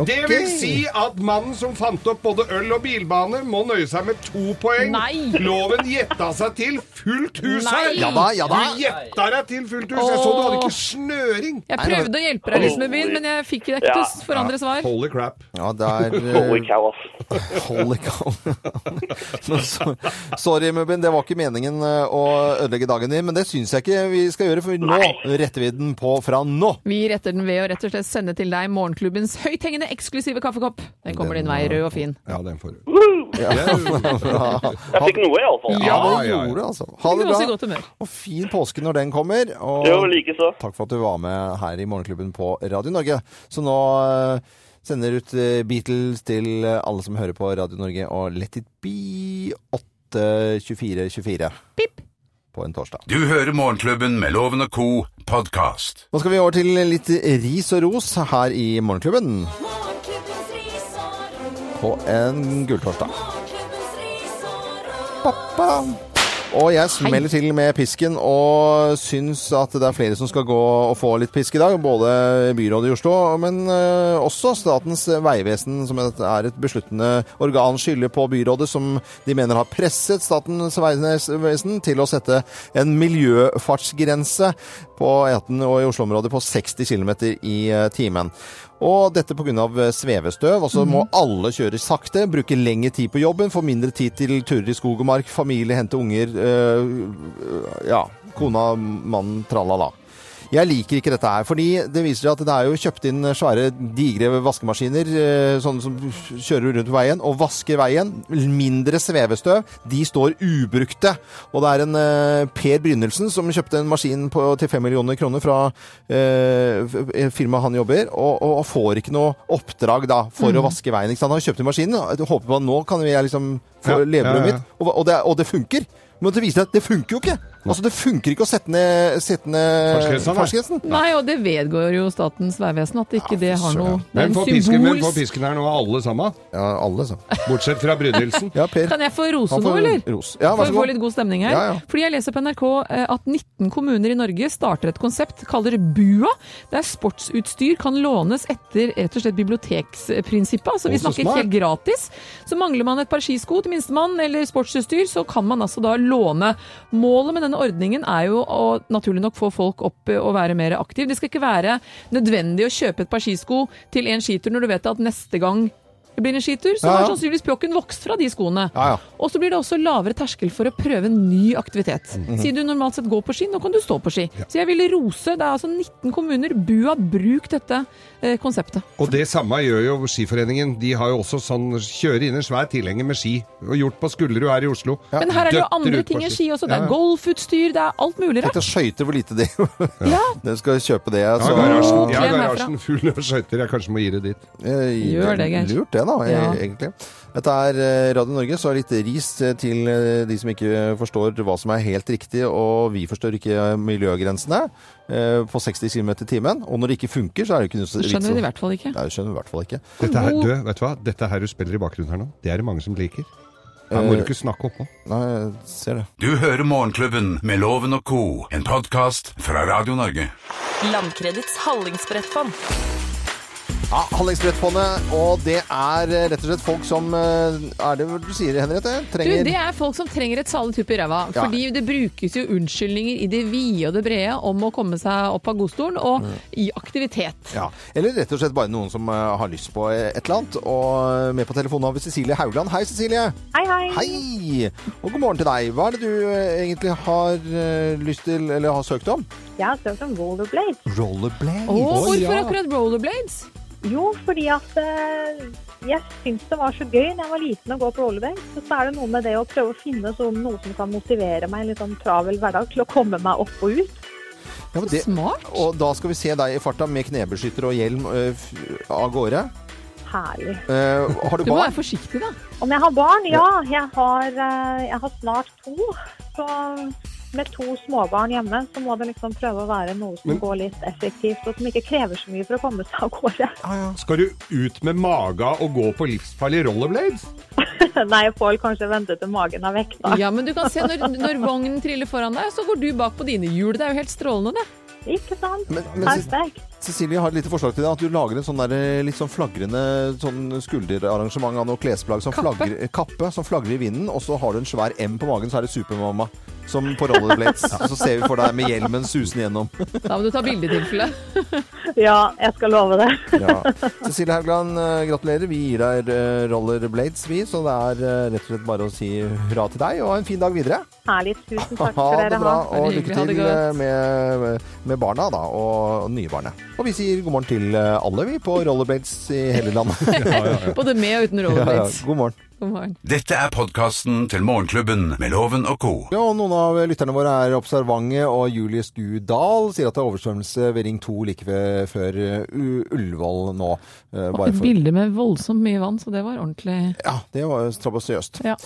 Speaker 5: Det vil si at mannen som fant opp både øl og bilbane, må nøye seg med to poeng.
Speaker 4: Nei.
Speaker 5: Loven gjetta seg til fullt hus her!
Speaker 4: Nei. Ja
Speaker 3: da, ja da.
Speaker 5: Du gjetta deg til fullt hus. Jeg så du hadde ikke snøring.
Speaker 4: Jeg prøvde å hjelpe deg, Lysmebyen, men jeg fikk jeg er ikke til å forandre svar.
Speaker 5: Holy crap.
Speaker 3: Ja, det er
Speaker 10: Holy
Speaker 3: eh,
Speaker 10: cow, ass.
Speaker 3: Holy cow. Nå, så- Sorry, Mubin. Det var ikke meningen eh, å ødelegge dagen din, men det syns jeg ikke vi skal gjøre, for nå retter vi den på fra nå.
Speaker 4: Vi retter den ved å rett og slett sende til deg morgenklubbens høythengende eksklusive kaffekopp. Den kommer din vei, rød og fin.
Speaker 5: Ja, den får du.
Speaker 10: Jeg fikk noe, iallfall.
Speaker 3: Ja,
Speaker 5: Ja,
Speaker 3: det
Speaker 5: ja, ja.
Speaker 3: gjorde det, altså. Ha det
Speaker 4: Du er også i godt
Speaker 3: bra.
Speaker 4: humør.
Speaker 3: Og fin påske når den kommer. Og
Speaker 10: Jo, likeså.
Speaker 3: takk for at du var med her i Morgenklubben på Radio Norge. Så nå eh, sender ut eh, Beatles til eh, alle som hører på Radio Norge, og Let it be 8.24.24
Speaker 4: Pip.
Speaker 3: på en torsdag.
Speaker 2: Du hører Morgenklubben med Loven og Co. podcast.
Speaker 3: Nå skal vi over til litt ris og ros her i Morgenklubben
Speaker 1: Morgenklubbens ris og ros.
Speaker 3: på en gulltorsdag.
Speaker 1: Morgenklubbens ris og ros.
Speaker 3: Pappa. Og jeg smeller til med pisken og syns at det er flere som skal gå og få litt pisk i dag. Både byrådet i Oslo, men eh, også Statens vegvesen, som et- er et besluttende organ, skylder på byrådet, som de mener har presset Statens vegvesen til å sette en miljøfartsgrense på E18 og i Oslo-området på 60 km i eh, timen. Og dette pga. eh, svevestøv. Og så må alle kjøre sakte, bruke lengre tid på jobben, få mindre tid til turer i skog og mark, familie, hente unger øh, øh, Ja. Kona, mannen, tralala. Jeg liker ikke dette her, fordi det viser seg at det er jo kjøpt inn svære, digre vaskemaskiner, øh, sånne som kjører rundt på veien og vasker veien. Mindre svevestøv. De står ubrukte. Og det er en øh, Per Brynildsen som kjøpte en maskin på, til 5 millioner kroner fra eh, f- firmaet han jobber, og, og får ikke noe oppdrag da for
Speaker 5: Mm.
Speaker 3: å vaske veien. Ikke sant? Han kjøpte maskinen og håper på at nå kan jeg liksom få
Speaker 5: Ja,
Speaker 3: levebrødet
Speaker 5: ja, ja.
Speaker 3: mitt, og, og, det, og det funker. Men det viser seg at det funker jo ikke! Altså, det funker ikke å sette ned, sette ned
Speaker 5: Fartsgrensa, nei.
Speaker 3: fartsgrensen.
Speaker 4: Nei, og det vedgår jo Statens vegvesen at ikke det har noe Det er
Speaker 5: Hvem
Speaker 4: en
Speaker 5: får pisken, hvem får
Speaker 4: symbolsk
Speaker 5: pisken her nå, alle sammen?
Speaker 3: Ja, alle, så.
Speaker 5: Bortsett fra Brynildsen.
Speaker 3: Ja, Per.
Speaker 4: Kan jeg få rose
Speaker 3: Han
Speaker 4: nå,
Speaker 3: får
Speaker 4: eller?
Speaker 3: ros. Ja, vær
Speaker 4: For
Speaker 3: så
Speaker 4: å få
Speaker 3: god.
Speaker 4: litt god stemning her.
Speaker 3: Ja, ja.
Speaker 4: Fordi jeg leser på NRK eh, at 19 kommuner i Norge starter et konsept, kaller det BUA, der sportsutstyr kan lånes etter rett og slett biblioteksprinsippet. Altså vi
Speaker 5: Å, så
Speaker 4: snakker
Speaker 5: smart.
Speaker 4: helt gratis. Så mangler man et par skisko til minstemann, eller sportsutstyr, så kan man altså da låne. Målet med denne ordningen er jo å naturlig nok få folk opp eh, og være mer aktiv. Det skal ikke være nødvendig å kjøpe et par skisko til en skitur når du vet at neste gang det blir en skitur, så sånn
Speaker 3: Ja, ja.
Speaker 4: har sannsynligvis pjokken vokst fra de skoene.
Speaker 3: Ja, ja.
Speaker 4: Og så blir det også lavere terskel for å prøve en ny aktivitet.
Speaker 3: Mhm.
Speaker 4: Sier du normalt sett gå på ski, nå kan du stå på ski. Så jeg vil rose, det er altså 19 kommuner, BUA, bruk dette eh, konseptet.
Speaker 5: Og det samme gjør jo Skiforeningen. De har jo også sånn kjører inn en svær tilhenger med ski. Og gjort på Skullerud her i Oslo.
Speaker 4: Men her er det jo
Speaker 5: Døtter
Speaker 4: andre
Speaker 5: ut på
Speaker 4: ting enn
Speaker 5: ski.
Speaker 4: ski også. Det
Speaker 5: Ja,
Speaker 4: er
Speaker 5: ja.
Speaker 4: golfutstyr, det er alt mulig
Speaker 3: Tenk
Speaker 4: rart.
Speaker 3: deg skøyter hvor lite det
Speaker 4: Ja,
Speaker 3: Dere skal kjøpe det. altså.
Speaker 5: Ja,
Speaker 3: så-
Speaker 5: garasjen, ja,
Speaker 4: Klem herfra.
Speaker 5: garasjen full av skøyter. Jeg kanskje må gi det dit.
Speaker 3: Eh,
Speaker 4: Gjør det, Geir.
Speaker 3: Lurt det, da, eh,
Speaker 4: Ja.
Speaker 3: egentlig. Dette er eh, Radio Norge, så litt ris eh, til eh, de som ikke forstår hva som er helt riktig, og vi forstår ikke eh, miljøgrensene eh, på 60 km i timen. Og når det ikke funker, så er sånn- det ikke noe
Speaker 4: det skjønner vi det i hvert fall ikke.
Speaker 3: Nei, det skjønner vi i hvert fall ikke.
Speaker 5: Dette her, du, vet du hva? Dette her du spiller i bakgrunnen her nå, det er det mange som liker. Her
Speaker 3: Eh,
Speaker 5: må du ikke snakke oppå.
Speaker 3: Nei, jeg ser det.
Speaker 2: Du hører Morgenklubben med Loven og Co., en podkast fra Radio Norge.
Speaker 11: Landkredits hallingsbrettfond.
Speaker 3: Ja, Handlingsbrettfondet, og det er eh, rett og slett folk som eh, Er det hva du sier, Henriette?
Speaker 4: Du,
Speaker 3: Trenger
Speaker 4: det er folk som trenger et salet tupp i ræva.
Speaker 3: Ja.
Speaker 4: Fordi det brukes jo unnskyldninger i det vide og det brede om å komme seg opp av godstolen og i aktivitet.
Speaker 3: Ja, Eller rett og slett bare noen som eh, har lyst på eh, et eller annet. Og eh, med på telefonen har vi Cecilie Haugland. Hei, Cecilie.
Speaker 7: Hei, hei.
Speaker 3: Hei! Og god morgen til deg. Hva er det du eh, egentlig har eh, lyst til, eller har søkt om?
Speaker 7: Jeg har søkt om rollerblades.
Speaker 3: Rollerblades.
Speaker 4: Og hvorfor akkurat rollerblades?
Speaker 7: Jo, fordi at eh, jeg syns det var så gøy da jeg var liten å gå på rollerblades. Så, så er det noe med det å prøve å finne sånn, noe som kan motivere meg i en litt sånn travel hverdag til å komme meg opp og ut.
Speaker 3: Ja, men det,
Speaker 4: Smart.
Speaker 3: og da skal vi se deg i farta med knebeskytter og hjelm eh, f- av gårde.
Speaker 7: Herlig.
Speaker 3: Eh, har du
Speaker 4: Du må være
Speaker 3: barn?
Speaker 4: forsiktig, da.
Speaker 7: Om jeg har barn? Ja, jeg har, eh, jeg har snart to. Så med to småbarn hjemme, så må det liksom prøve å være noe som
Speaker 5: Men-
Speaker 7: går litt effektivt, og som ikke krever så mye for å komme seg av gårde.
Speaker 5: Skal du ut med maga og gå på livsfarlige rollerblades?
Speaker 12: Nei, jeg får vel kanskje vente til magen er vekk, da.
Speaker 4: Ja, men du kan se når, når vognen triller foran deg, så går du bak på dine hjul. Det er jo helt strålende, det.
Speaker 12: Ikke sant?
Speaker 4: Men,
Speaker 12: Perfekt.
Speaker 3: Cecilie har et lite forslag til deg. At du lager en sånn der, eh, litt sånn flagrende sånn skulderarrangement av noe klesplagg. Som
Speaker 4: Kappe.
Speaker 3: Flagrer, eh, kappe som flagrer i vinden, og så har du en svær M på magen, så er det Supermamma. Som på rollerblades.
Speaker 4: Ja.
Speaker 3: Så ser vi for deg med hjelmen susende gjennom.
Speaker 4: Da må du ta bilde i tilfelle.
Speaker 12: Ja, jeg skal love det.
Speaker 3: Ja. Cecilie Haugland, eh, gratulerer. Vi gir deg eh, rollerblades, vi. Så det er eh, rett og slett bare å si hurra til deg, og ha en fin dag videre.
Speaker 12: Herlig. Tusen takk
Speaker 3: Ha
Speaker 12: for dere.
Speaker 3: det bra,
Speaker 12: har.
Speaker 3: og lykke til eh, med, med barna da, og og nye barnet. Og vi sier god morgen til eh, alle vi på rollerblades i hele landet.
Speaker 4: Både med og uten rollerblades.
Speaker 3: Ja, ja. God morgen.
Speaker 4: God morgen.
Speaker 2: Dette er podkasten til Morgenklubben med Loven og co.
Speaker 3: Ja, og Noen av lytterne våre er observante, og Julie Stu Dahl sier at det er oversvømmelse ved Ring 2 like ved, før eh, U- Ullevål nå. eh, bare
Speaker 4: Et
Speaker 3: for-
Speaker 4: bilde med voldsomt mye vann, så det var ordentlig
Speaker 3: Ja, det var jo strabasiøst.
Speaker 4: Ja.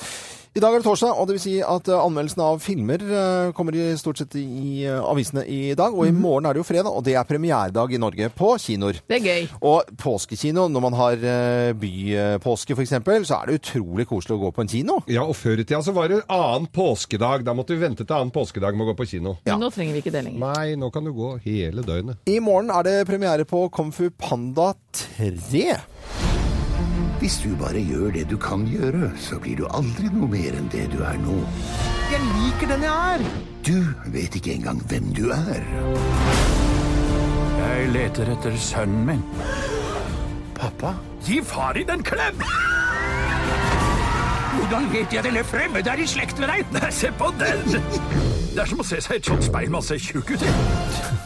Speaker 3: I dag er det torsdag, og det vil si at eh, anmeldelsen av filmer eh, kommer i stort sett i eh, avisene i dag. Og i morgen er det jo fredag, og det er premieredag i Norge på kinoer.
Speaker 4: Mhm. Det er gøy.
Speaker 3: Og påskekino, når man har eh, bypåske f.eks., så er det utrolig koselig å gå på en kino.
Speaker 5: Ja, og før i tida så var det annen påskedag. Da måtte vi vente til annen påskedag med å gå på kino.
Speaker 4: Men nå trenger vi ikke det lenger.
Speaker 5: Nei, nå kan du gå hele døgnet.
Speaker 3: I morgen er det premiere på Kung Fu Panda 3.
Speaker 13: Hvis du bare gjør det du kan gjøre, så blir du aldri noe mer enn det du er nå.
Speaker 14: Jeg liker den jeg er.
Speaker 13: Du vet ikke engang hvem du er.
Speaker 14: Jeg leter etter sønnen min. Pappa? Gi far din en klem! Hvordan vet jeg det? eller Fremmede er i slekt med deg! Nei, se på den! Det er som å se seg i et sånt speil masse tjukk ut.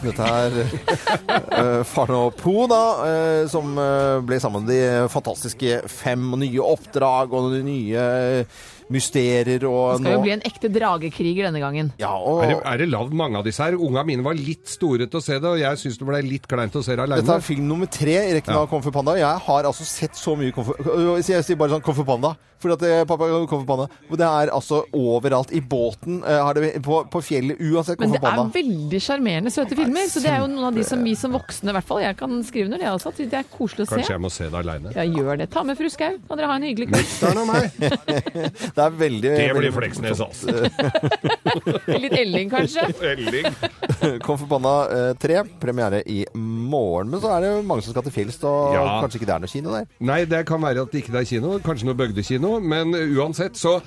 Speaker 3: Dette er eh, faren og Po, da, eh, som eh, ble sammen med de fantastiske fem nye oppdrag og de nye eh, mysterier. Og
Speaker 4: Det skal jo
Speaker 3: nå-
Speaker 4: bli en ekte dragekriger denne gangen.
Speaker 5: Er det, er det lavd mange av disse her? Unga mine var litt store til å se det, og jeg syns det ble litt kleint å se det
Speaker 3: Dette
Speaker 5: aleine.
Speaker 3: er film nummer tre i rekken av Kung Fu Panda. Jeg har altså sett så mye Kung Fu Øh, Jeg sier bare sånn Kung Fu Panda. Fordi at eh, pappa Kung Fu Panda Og Det er altså overalt. I båten, eh, har det, på, på fjellet, uansett Kung Fu
Speaker 4: Men det er
Speaker 3: Panda.
Speaker 4: veldig sjarmerende søte filmer, så det er jo noen av de som vi som voksne, i hvert fall, jeg kan skrive under det også, at det er koselig å
Speaker 5: Kanskje
Speaker 4: se.
Speaker 5: jeg må se det aleine.
Speaker 4: Ja, gjør det. Ta med fru Skau, kan dere ha en hyggelig
Speaker 5: kveld.
Speaker 3: Det er veldig
Speaker 5: Det blir
Speaker 3: veldig-
Speaker 5: Fleksnes, altså.
Speaker 4: Litt Elling, kanskje.
Speaker 5: Elling.
Speaker 3: Kom forbanna eh, tre, premiere i morgen. Men så er det jo mange som skal til fjells, og
Speaker 5: Ja.
Speaker 3: kanskje ikke det er noe kino der.
Speaker 5: Nei, det kan være at det ikke er kino, kanskje noe bøgdekino, men uansett så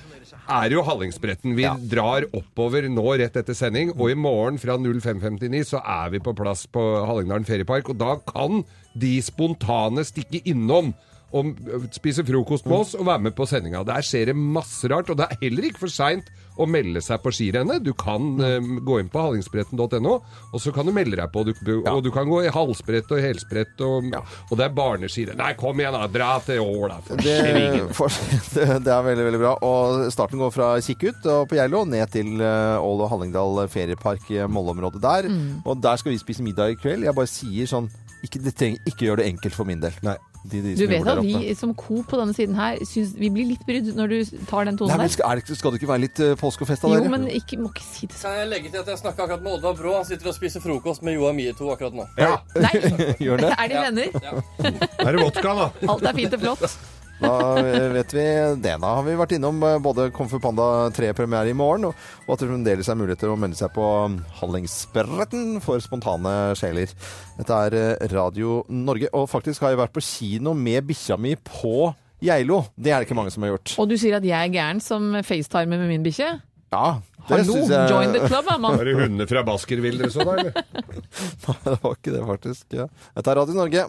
Speaker 5: er det jo Hallingsbretten. Vi drar oppover nå rett etter sending, og i morgen fra 05.59 så er vi på plass på Hallingdalen Feriepark, og da kan de spontane stikke innom og øh, spise frokost med oss og være med på sendinga. Der skjer det masse rart, og det er heller ikke for seint å melde seg på skirennet. Du kan eh, gå inn på hallingsbretten.no, og så kan du melde deg på. Du, Og du kan gå i halsbrett og helsbrett, og, og det er barneskirenn. Nei, kom igjen, da! Dra til Åla, for
Speaker 3: Det,
Speaker 5: svingen!
Speaker 3: for, det det er veldig, veldig bra. Og starten går fra Kikkut og på Geilo ned til eh, Ål og Hallingdal feriepark, eh, Molleområdet der.
Speaker 5: Mm.
Speaker 3: Og der skal vi spise middag i kveld. Jeg bare sier sånn ikke, det treng, ikke gjør det enkelt for min del. De- de
Speaker 4: Du
Speaker 3: som
Speaker 4: vet
Speaker 3: gjorde der
Speaker 4: at
Speaker 3: oppe.
Speaker 4: vi som co på denne siden her, syns vi blir litt brydd når du tar den
Speaker 3: Nei,
Speaker 4: tonen
Speaker 3: men
Speaker 4: der.
Speaker 3: skal, er det, skal det ikke være litt eh, påskefest av
Speaker 4: Jo,
Speaker 3: dere?
Speaker 4: men ikke, må ikke si det sånn.
Speaker 9: Kan jeg legge til at jeg snakket akkurat med Oddvar Brå? Han sitter og spiser frokost med Joar Mieto akkurat nå.
Speaker 5: Ja.
Speaker 4: Nei.
Speaker 3: Gjør det?
Speaker 4: Er de venner?
Speaker 5: Er det vodka, da?
Speaker 4: Alt er fint og flott.
Speaker 3: Da eh, vet vi det. Da har vi vært innom eh, både Kung Fu Panda 3-premiere i morgen, og og at det fremdeles er mulighet til å melde seg på um, Hallingsbretten for spontane sjeler. Dette er eh, Radio Norge, og faktisk har jeg vært på kino med bikkja mi på Geilo. Det er det ikke mange som har gjort.
Speaker 4: Og du sier at jeg er gæren som facetimer med min bikkje?
Speaker 3: Ja, det
Speaker 4: Hallo,
Speaker 3: synes jeg...
Speaker 4: join the club, da, mann.
Speaker 5: Er det hundene fra Baskerville dere så da, eller?
Speaker 3: Nei, det var ikke det, faktisk. Ja. Dette er Radio Norge.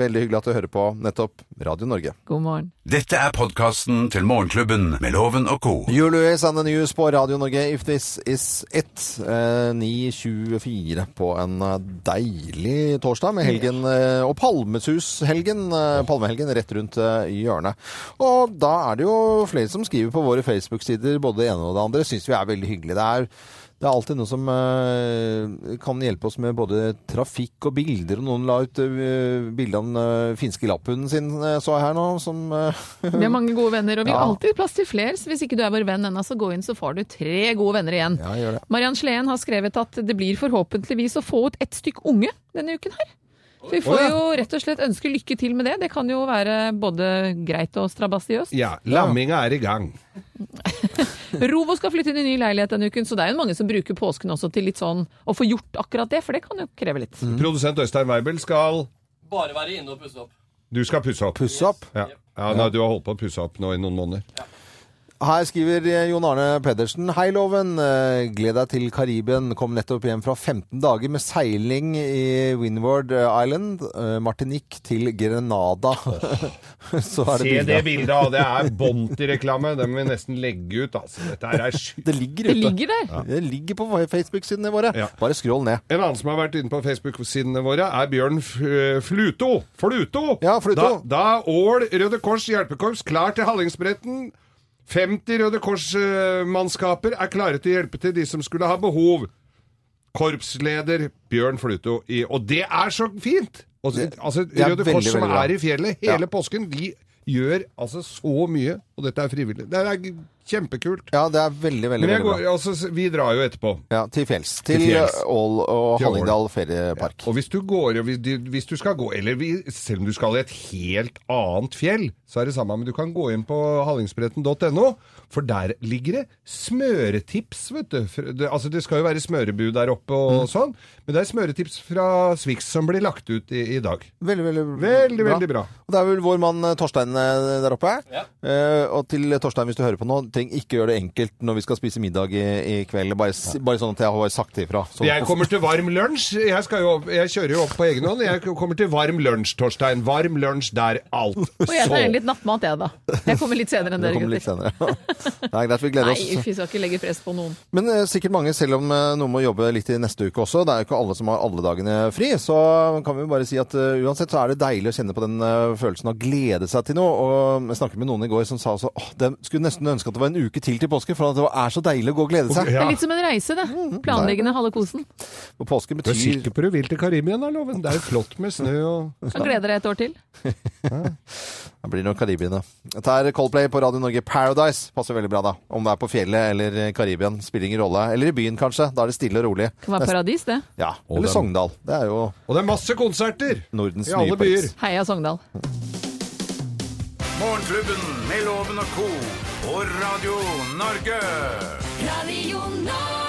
Speaker 3: Veldig hyggelig at du hører på nettopp Radio Norge.
Speaker 4: God morgen.
Speaker 2: Dette er podkasten til Morgenklubben med Loven og co.
Speaker 3: You Louis and the News på Radio Norge, If This Is It. Eh, 9.24 på en eh, deilig torsdag med helgen eh, og palmesushelgen. Eh, palmehelgen rett rundt eh, hjørnet. Og da er det jo flere som skriver på våre Facebook-sider både det ene og det andre. Syns vi er veldig hyggelig. Det er det er alltid noe som eh, kan hjelpe oss med både trafikk og bilder. Og noen la ut eh, bilde av den eh, finske lapphunden sin, eh, så jeg her nå, som eh,
Speaker 4: Vi har mange gode venner, og vi har
Speaker 3: Ja.
Speaker 4: alltid plass til flere. Så hvis ikke du er vår venn ennå, så gå inn, så får du tre gode venner igjen.
Speaker 3: Ja, gjør det.
Speaker 4: Mariann Sleen har skrevet at det blir forhåpentligvis å få ut ett stykk unge denne uken her. Så vi får jo rett og slett ønske lykke til med det. Det kan jo være både greit og strabasiøst.
Speaker 5: Ja, lamminga er i gang.
Speaker 4: Rovo skal flytte inn i ny leilighet denne uken, så det er jo mange som bruker påsken også til litt sånn å få gjort akkurat det, for det kan jo kreve litt.
Speaker 3: Mm.
Speaker 5: Mm. Produsent Øystein Weibel skal
Speaker 9: Bare være inne og pusse opp.
Speaker 5: Du skal pusse opp.
Speaker 3: Pusse opp?
Speaker 5: Ja. Ja, nei, Du har holdt på å pusse opp nå i noen måneder.
Speaker 3: Her skriver eh, Jon Arne Pedersen. Hei, Loven. Eh, Gled deg til Kariben. Kom nettopp hjem fra 15 dager med seiling i Windward Island, eh, Martinique, til Grenada. Så er
Speaker 5: Se det
Speaker 3: bildet.
Speaker 5: bildet, og det er bånd til reklame. Det må vi nesten legge ut. Altså. Dette her er sjukt.
Speaker 3: Det ligger
Speaker 5: Det
Speaker 3: ute.
Speaker 5: ligger der.
Speaker 3: Ja. Det ligger på Facebook-sidene våre. Bare scroll ned.
Speaker 5: En annen som har vært inne på Facebook-sidene våre, er Bjørn F- eh, Fluto. Fluto!
Speaker 3: Fluto.
Speaker 5: Da, da Ål Røde Kors hjelpekorps klar til Hallingsbretten. 50 Røde Kors-mannskaper er klare til å hjelpe til de som skulle ha behov. Korpsleder Bjørn Fluto. I, og det er så fint! Og, altså,
Speaker 3: det er
Speaker 5: Røde
Speaker 3: veldig,
Speaker 5: Kors som
Speaker 3: veldig bra.
Speaker 5: er i fjellet hele
Speaker 3: Ja.
Speaker 5: påsken, de gjør altså så mye. Og dette er frivillig. Det er g- kjempekult.
Speaker 3: Ja, det er veldig, veldig,
Speaker 5: Men jeg
Speaker 3: veldig
Speaker 5: går,
Speaker 3: bra.
Speaker 5: altså, s- vi drar jo etterpå.
Speaker 3: Ja, til fjells. Til,
Speaker 5: fjells.
Speaker 3: Ål og
Speaker 5: Til Ål.
Speaker 3: Hallingdal feriepark.
Speaker 5: Og hvis du går, og hvis du- hvis du skal gå, eller vi- selv om du skal i et helt annet fjell, så er det samme, men du kan gå inn på hallingsbretten.no, for der ligger det smøretips, vet du. For Det, altså, det skal jo være smørebu der oppe og sånn, men det er smøretips fra Swix som blir lagt ut i, i dag.
Speaker 3: Veldig, veldig,
Speaker 5: Veldig, veldig bra.
Speaker 3: Og det er vel vår mann eh, Torstein eh, der oppe. Eh, og til Torstein, hvis du hører på nå, trenger ikke gjøre det enkelt når vi skal spise middag i, i kveld. Bare, s- bare sånn at jeg har sagt det ifra. Så-
Speaker 5: Jeg kommer til varm lunsj. Jeg, skal jo opp, jeg kjører jo opp på egen hånd. Jeg kommer til varm lunsj, Torstein. Varm lunsj der alt.
Speaker 4: Og jeg tar
Speaker 5: Så.
Speaker 4: inn litt nattmat, jeg, da. Jeg kommer litt senere enn
Speaker 3: Det
Speaker 4: dere,
Speaker 3: kommer litt
Speaker 4: gutter.
Speaker 3: senere. Det er greit, vi gleder
Speaker 4: Nei,
Speaker 3: oss.
Speaker 4: uff, vi skal ikke legge press på noen.
Speaker 3: Men eh, sikkert mange, selv om eh, noen må jobbe litt i neste uke også. Det er jo ikke alle som har alle dagene fri. Så kan vi bare si at eh, uansett så er det deilig å kjenne på den eh, følelsen av å glede seg til noe. Og jeg snakket med noen i går som sa så, åh, de skulle nesten ønske at det var en uke til til påske, for at det er så deilig å gå og glede seg.
Speaker 4: Det er litt som en reise, det.
Speaker 3: Mm.
Speaker 4: Planleggende halve kosen.
Speaker 3: Og påske
Speaker 5: Du er
Speaker 3: betyr
Speaker 5: sikker på du vil til Karibien, da, Loven? Det er jo flott med snø og
Speaker 4: Kan glede deg et år til.
Speaker 3: Det blir nok Karibien, ja. Dette er Coldplay på Radio Norge. Paradise passer veldig bra, da. Om det er på fjellet eller eh, Karibien, spiller ingen rolle. Eller i byen, kanskje. Da er det stille og rolig.
Speaker 4: Kan være
Speaker 3: Nesten-
Speaker 4: paradis, det.
Speaker 3: Ja.
Speaker 5: Og
Speaker 3: Eller
Speaker 5: dem.
Speaker 3: Sogndal. Det er jo
Speaker 5: Og det er masse konserter
Speaker 3: Nordens
Speaker 5: i alle
Speaker 3: nye Paris.
Speaker 5: byer.
Speaker 4: Heia Sogndal.
Speaker 2: Morgenklubben med Loven og co. på Radio Norge.
Speaker 1: Radio Norge.